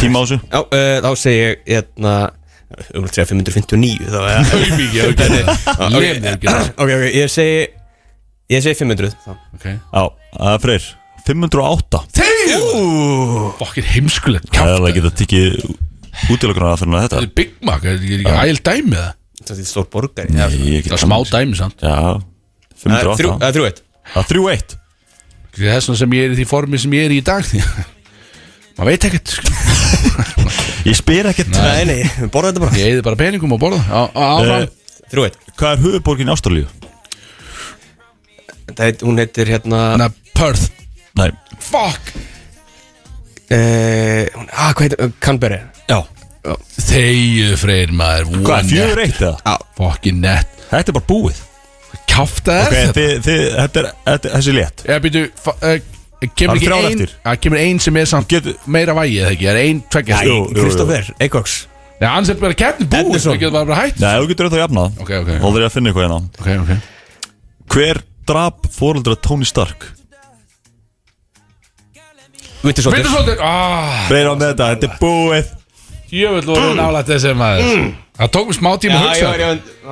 Tíma á þessu Já, uh, þá segi ég, hérna Þú vilt segja 559 þá er Auðviki, ég hef ekki það Lemið, ég hef ekki það Ok, ok, ég segi Ég segi 500 þá Ok Já, það er freyr 508 Þegar Fokkin heimskulegt Það er alveg kjátt ekki að tikið útilokunar aðferðin að Það þetta er Big Mac, er ekki- er ekki æl dæmi það Það er stór borgari Það Nei, ekki Það er smá dæmi samt Já, er 508 Eh, þrjú- það er þrjú eitt Það er þrjú eitt Það er þess vegna sem ég er í því formi sem ég er í í dag því Maður veit ekkert sko. Ég spyr ekkert Nei, nei, borða þetta bara Ég eði bara peningum og borða Á- á- Áfram Eh, Þrjú eitt Hvað er höfuborgin í Ástralíu? Það heit, hún heitir hérna Þannig að Perth Nei Fuck eh, hún- Ah, hvað heitir, Canberra Já Þeir freyr maður Hvað, fjögur eitt eða? Fokkin nett Þetta er bara búið Kjátt að er Ok, þetta þið, þið, þetta er, þetta er þessi létt Ég býtu Það eh, Kemur eru ekki þrjár ein eftir. Það kemur ein sem er samt Getur- meira vægið eða ekki Það er ein tveggja Jú, jú, jú. Kristoffer, Eikoks Nei, annars er bara keppni búið Anderson. Það getur bara hætt Nei, þú getur auðvitað að jafna það Ok, ok. Þá þarf ég að finna eitthvað hérna Ok, ok Hver drap fóreldra Tony Stark? Vinter Sotir Vindur svolítið Ah Freyr á með þetta, þetta er búið Jöfnveld Mm. voru nálægt þessi maður Það tók mér smá tíma að hugsa Ég var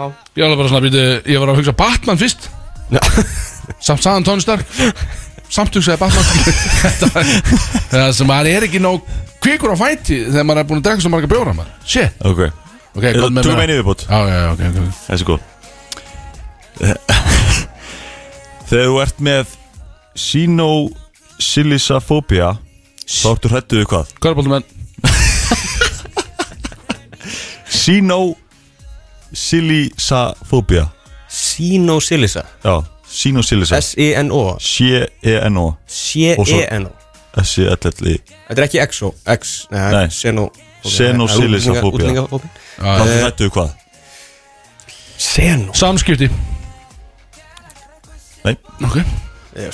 alveg bara svona býtu Ég var að hugsa Batman fyrst Samt saðan Tony Stark Samt hugsaði Batman Þetta var- Það sem maður er ekki nóg Kvikur á fæti Þegar maður er búin að drekka svo marga bjóra maður Shit Ok, Ok, hvað með tökum mér einu viðbútt Já, já, já, ok, ok ok. Þessi góð Þegar þú ert með Sinosillisafobia Þá ertu hrættuðu hvað? Körbóltumenn Sinosilisa-fóbía Sinosilisa Já, Sinosilisa S-I-N-O C-E-N-O Og svo- C-E-N-O S-I-L-L-I E Þetta er ekki eh, XO X, neða, Nei. Seno Senosilisa-fóbía. Útlendingafóbía Hvað Eh. þetta er hvað? Seno Samskipti Nei Ok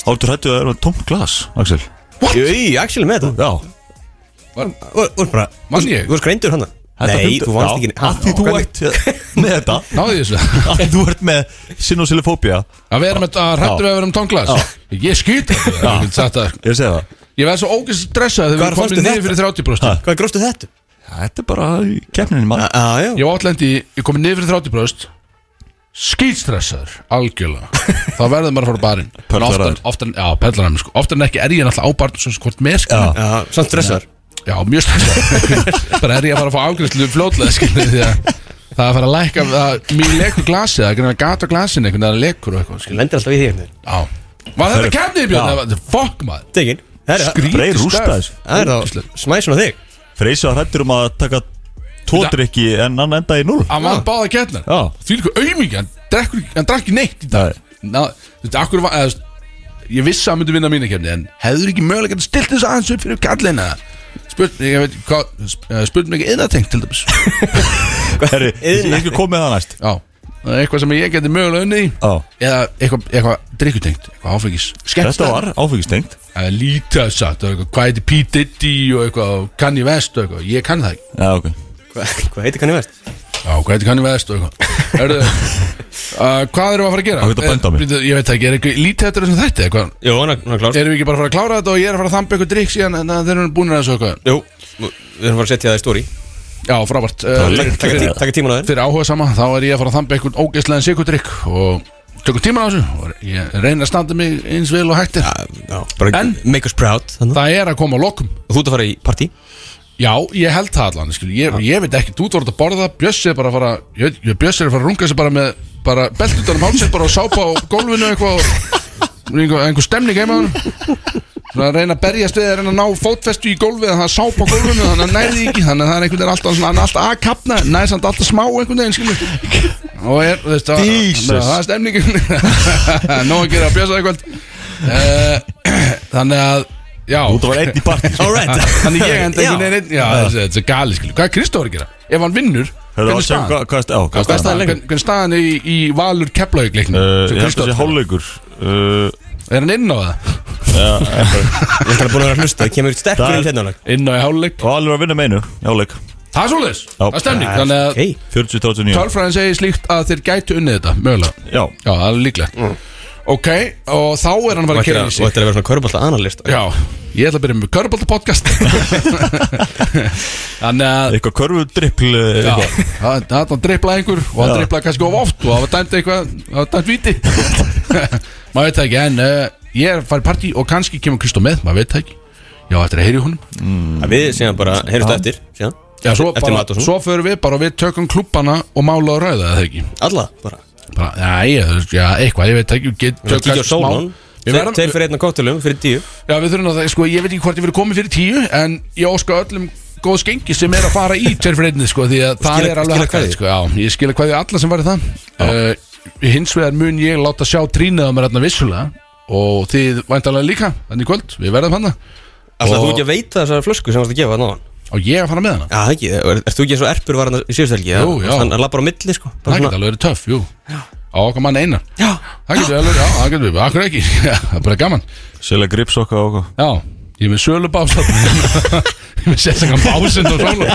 Áttu hættu að það er með tómt glas, Axel Jöi, Axel er með þetta Já Þú þú ert bara Mann ég? Þú ert greindur hann Þetta Nei, fundu- þú Já, vannst ekki af því þú ert með þetta Náðu því þessu Af því þú ert með sinosillofóbía Að vera með að hrættu við að vera um tónglas Ég skýt Ég get sagt það. Ég segi það Ég verð svo ógæst stressað þegar Hvar við komum fannstu niður þetta? fyrir 30 bröst Ha. Hvað gróstu þetta? Þetta er bara í keppninni mann Ah, Já, já Ég var átlendi, ég komið niður fyrir 30 bröst Skýtstressaður, algjörlega Þá verður maður að fara á barinn En oftar- Pöllaraður. oftar- Já, pellararinn sko Oftar en ekki er ég náttúrulega á barinn Svo skort með skil Já. Já, samt stressar Já, mjög stressað Bara er ég að fara að fá ágræslu fljótlega skil Því að það er að fara að lækka það- Mér lekur glasið, það er greinilega gat á glasinu einhvern veginn að lekur og eitthvað skil Lendir alltaf í því einhvern veginn Já Var þetta Herru, kemnið já. Björn? Fuck maður Tegin Það Skrýtið Freyr rústa stöf. þessu. er þá Ógeðslegt. smæsun á þig Freysa hrættur um að taka tvo Þetta- drikki en hann enda í null Hann vann báða keppnar Já. Því líka aumingi, hann drakk, hann drakk ekki neitt í dag Ná, Þú veist, akkur var eða, þú veist, Ég vissi að hann myndi vinna mína keppni En hefur ekki mögulega að stilt þess aðeins upp fyrir kallina Spurt, ég veit, ekki hvað sp- eh, Spurt mig ekki yðnatengt til dæmis Herri, ég ég skal koma með það næst Já, það er eitthvað sem ég geti mögulega unnið í Já. Eða eitthvað, eitthvað drikkutengt Eitthvað áfengis Þetta var áfengistengt Það er lítið að sagt það er eitthvað, Hvað heiti P. Diddy og eitthvað Kanye West og eitthvað Ég kann það ekki Já, ok Hva- Hvað heitir kanni verst? Já, hvað heitir Kanye West og eitthvað Erðu, uh, hvað erum við að fara að gera? Á, þetta benda á mig. Eh, Ég veit það ekki, er eitthvað lítið eftir þessum þætti eitthvað Jó, hann er klár Erum við ekki bara að fara að klára þetta og ég er að fara að þamba ykkur drikk síðan en þeir eru búinir að þessu eitthvað Jú, við erum bara að setja það í stóri Já, frábært var uh, lengt. fyrir, Takk tíman á þér fyrir áhuga sama, þá er ég að fara að þamba ykkur ógeðslegan sikudrykk og tökum tíman á þessu og ég reyna að standa mig eins vel og hægt er Já, bara En- make us proud þannig. Það er að koma á lokum Þú ert að fara í partí Já, ég held það allan, skil, ég, ég veit ekki, þú voru að borða, Bjössi er bara að fara, ég veit, ég- Bjössi er að fara að runga sig bara með, bara belt utanum hálsinn bara og sápa á gólfinu eitthvað og einhver, einhver stemning heima á hann Svona að reyna að berjast við, að reyna að ná fótfestu í gólfið, þannig að sápa á gólfinu, þannig að nærði ekki, þannig að það er einhvern veginn alltaf, svona, hann er alltaf að kapna, næði samt alltaf smá einhvern veginn, skilur Og er, þú veist, það- Jesus. þannig að það er stemningin, nóg að gera að Bjössi eitthvað Þannig að, já Þú var einn í partí Alright Þannig ég enda ekki Já. neina einn Já, þessi- þetta er gali skilju Hvað er Kristóður að gera? Ef hann vinnur Hörðu, Hvernig er að sjá staðan? hvað- hvað er staðan? Hvað Hvað er er staðan? staðan? Hvern- Hvernig er staðan í, í Valur Keflavík-leiknum? Uh, Ég sem held að Kristófer- sé hálfleikur Uh, Er hann inn á það? Ég er bara búin að vera að hlusta Það kemur sterkur Það- inn hérna Inn á í háluleik Og alveg að vinna með einu í Hálfleik Það er svoleiðis Já. Það er stemning Þannig að Hey, 40-39 tölfræðin segir slíkt að þeir gætu unnið þetta Mögulega Já Já, það er líklegt Mm. Ok, og þá er hann og bara að þetta kera er að í sig vera svona körbálta analist Já, ég ætla að byrja með Körbólta podcast Þannig að Eitthvað körfudrippl uh, Já, eitthvað. það það- hann dripplaði einhver og hann Já. dripplaði kannski of oft og það var dæmt eitthvað, það var dæmt viti maður veit það ekki en uh, ég er að fara í partí og kannski kemur Kristó með maður veit það ekki, já þetta er að heyri honum Við síðan bara heyrjumst eftir síðan. já, svo, Eftir bara, mat og svona. svo förum við bara og við tökum klubbana og mála og ræða það ekki Alla bara bara, já, ég, þú veist, já, eitthvað, ég veit það ekki get, Við kíkja á sólan Við verðum- Tveir fyrir einna kóttilum fyrir tíu já, við þurfum að það, sko, ég veit ekki hvort ég verið komið fyrir tíu en ég óska öllum góð skengi sem er að fara í tverfreyndið sko því að það skila- er alveg skila hakkaði kveðju. sko, já, ég skilja hvað því alla sem var í það uh, hins vegar mun ég láta sjá trínið á mér hérna vissulega og þið væntalega líka þannig í kvöld, við verðum hérna, hann Alltaf Og- þú ekki að veita þessar flösku sem þú varst að gefa náðan og ég að fara með hana Já, það ekki, er, ert þú ekki eins og erpur var hann í síðustelgi? Jú, já. Hann lappar á milli, sko það getur alveg verið töff, jú á okkar mann einar Já, það getur alveg, já, það getur við, akkur ekki það er bara gaman Selja gripsokka og okkur Já, ég er með sölu bása Ég er með sérstakann básinn og sólu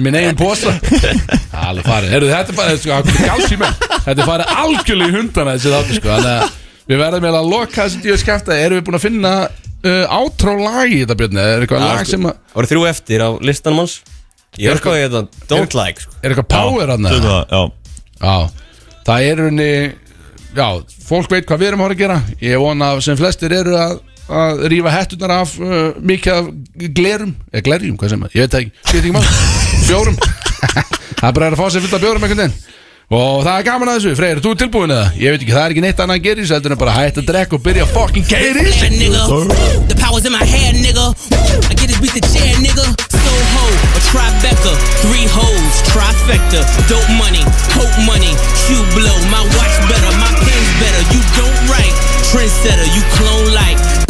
Minn eigin posa Það er alveg farið Heru, Þetta er bara, sko, það komið gals í mig Þetta er farið algjörlega í hundana þessi þáttu sko Þannig að við verðum eiginlega að loka þessi djöðu skefta Erum við búin að finna uh, átrá lag í þetta Björn Eða Er eitthvað lag sem að það voru þrjú eftir á listanum hans Ég er sko að ég þetta don't like, sko Er eitthvað power hann Tökum eða? það, Já Já, það er unni Já, fólk veit hvað við erum að fara að gera Ég vona að sem flestir eru að að rífa hettunar af uh, mikið af glerum, eða glerjum, hvað sem að ég veit það ekki, skýt ekki mál, bjórum það er bara að fá sér fullt af bjórum einhvern veginn og það er gaman að þessu, Freyr, ert þú tilbúin eða? ég veit ekki, það er ekki neitt annað að gera í þessu heldur en bara hægt að drekka og byrja að fucking gera í þessu nigga. The power's in my hand, nigga. I get this beat the chair, nigga. So ho, a Tribeca, three ho, dope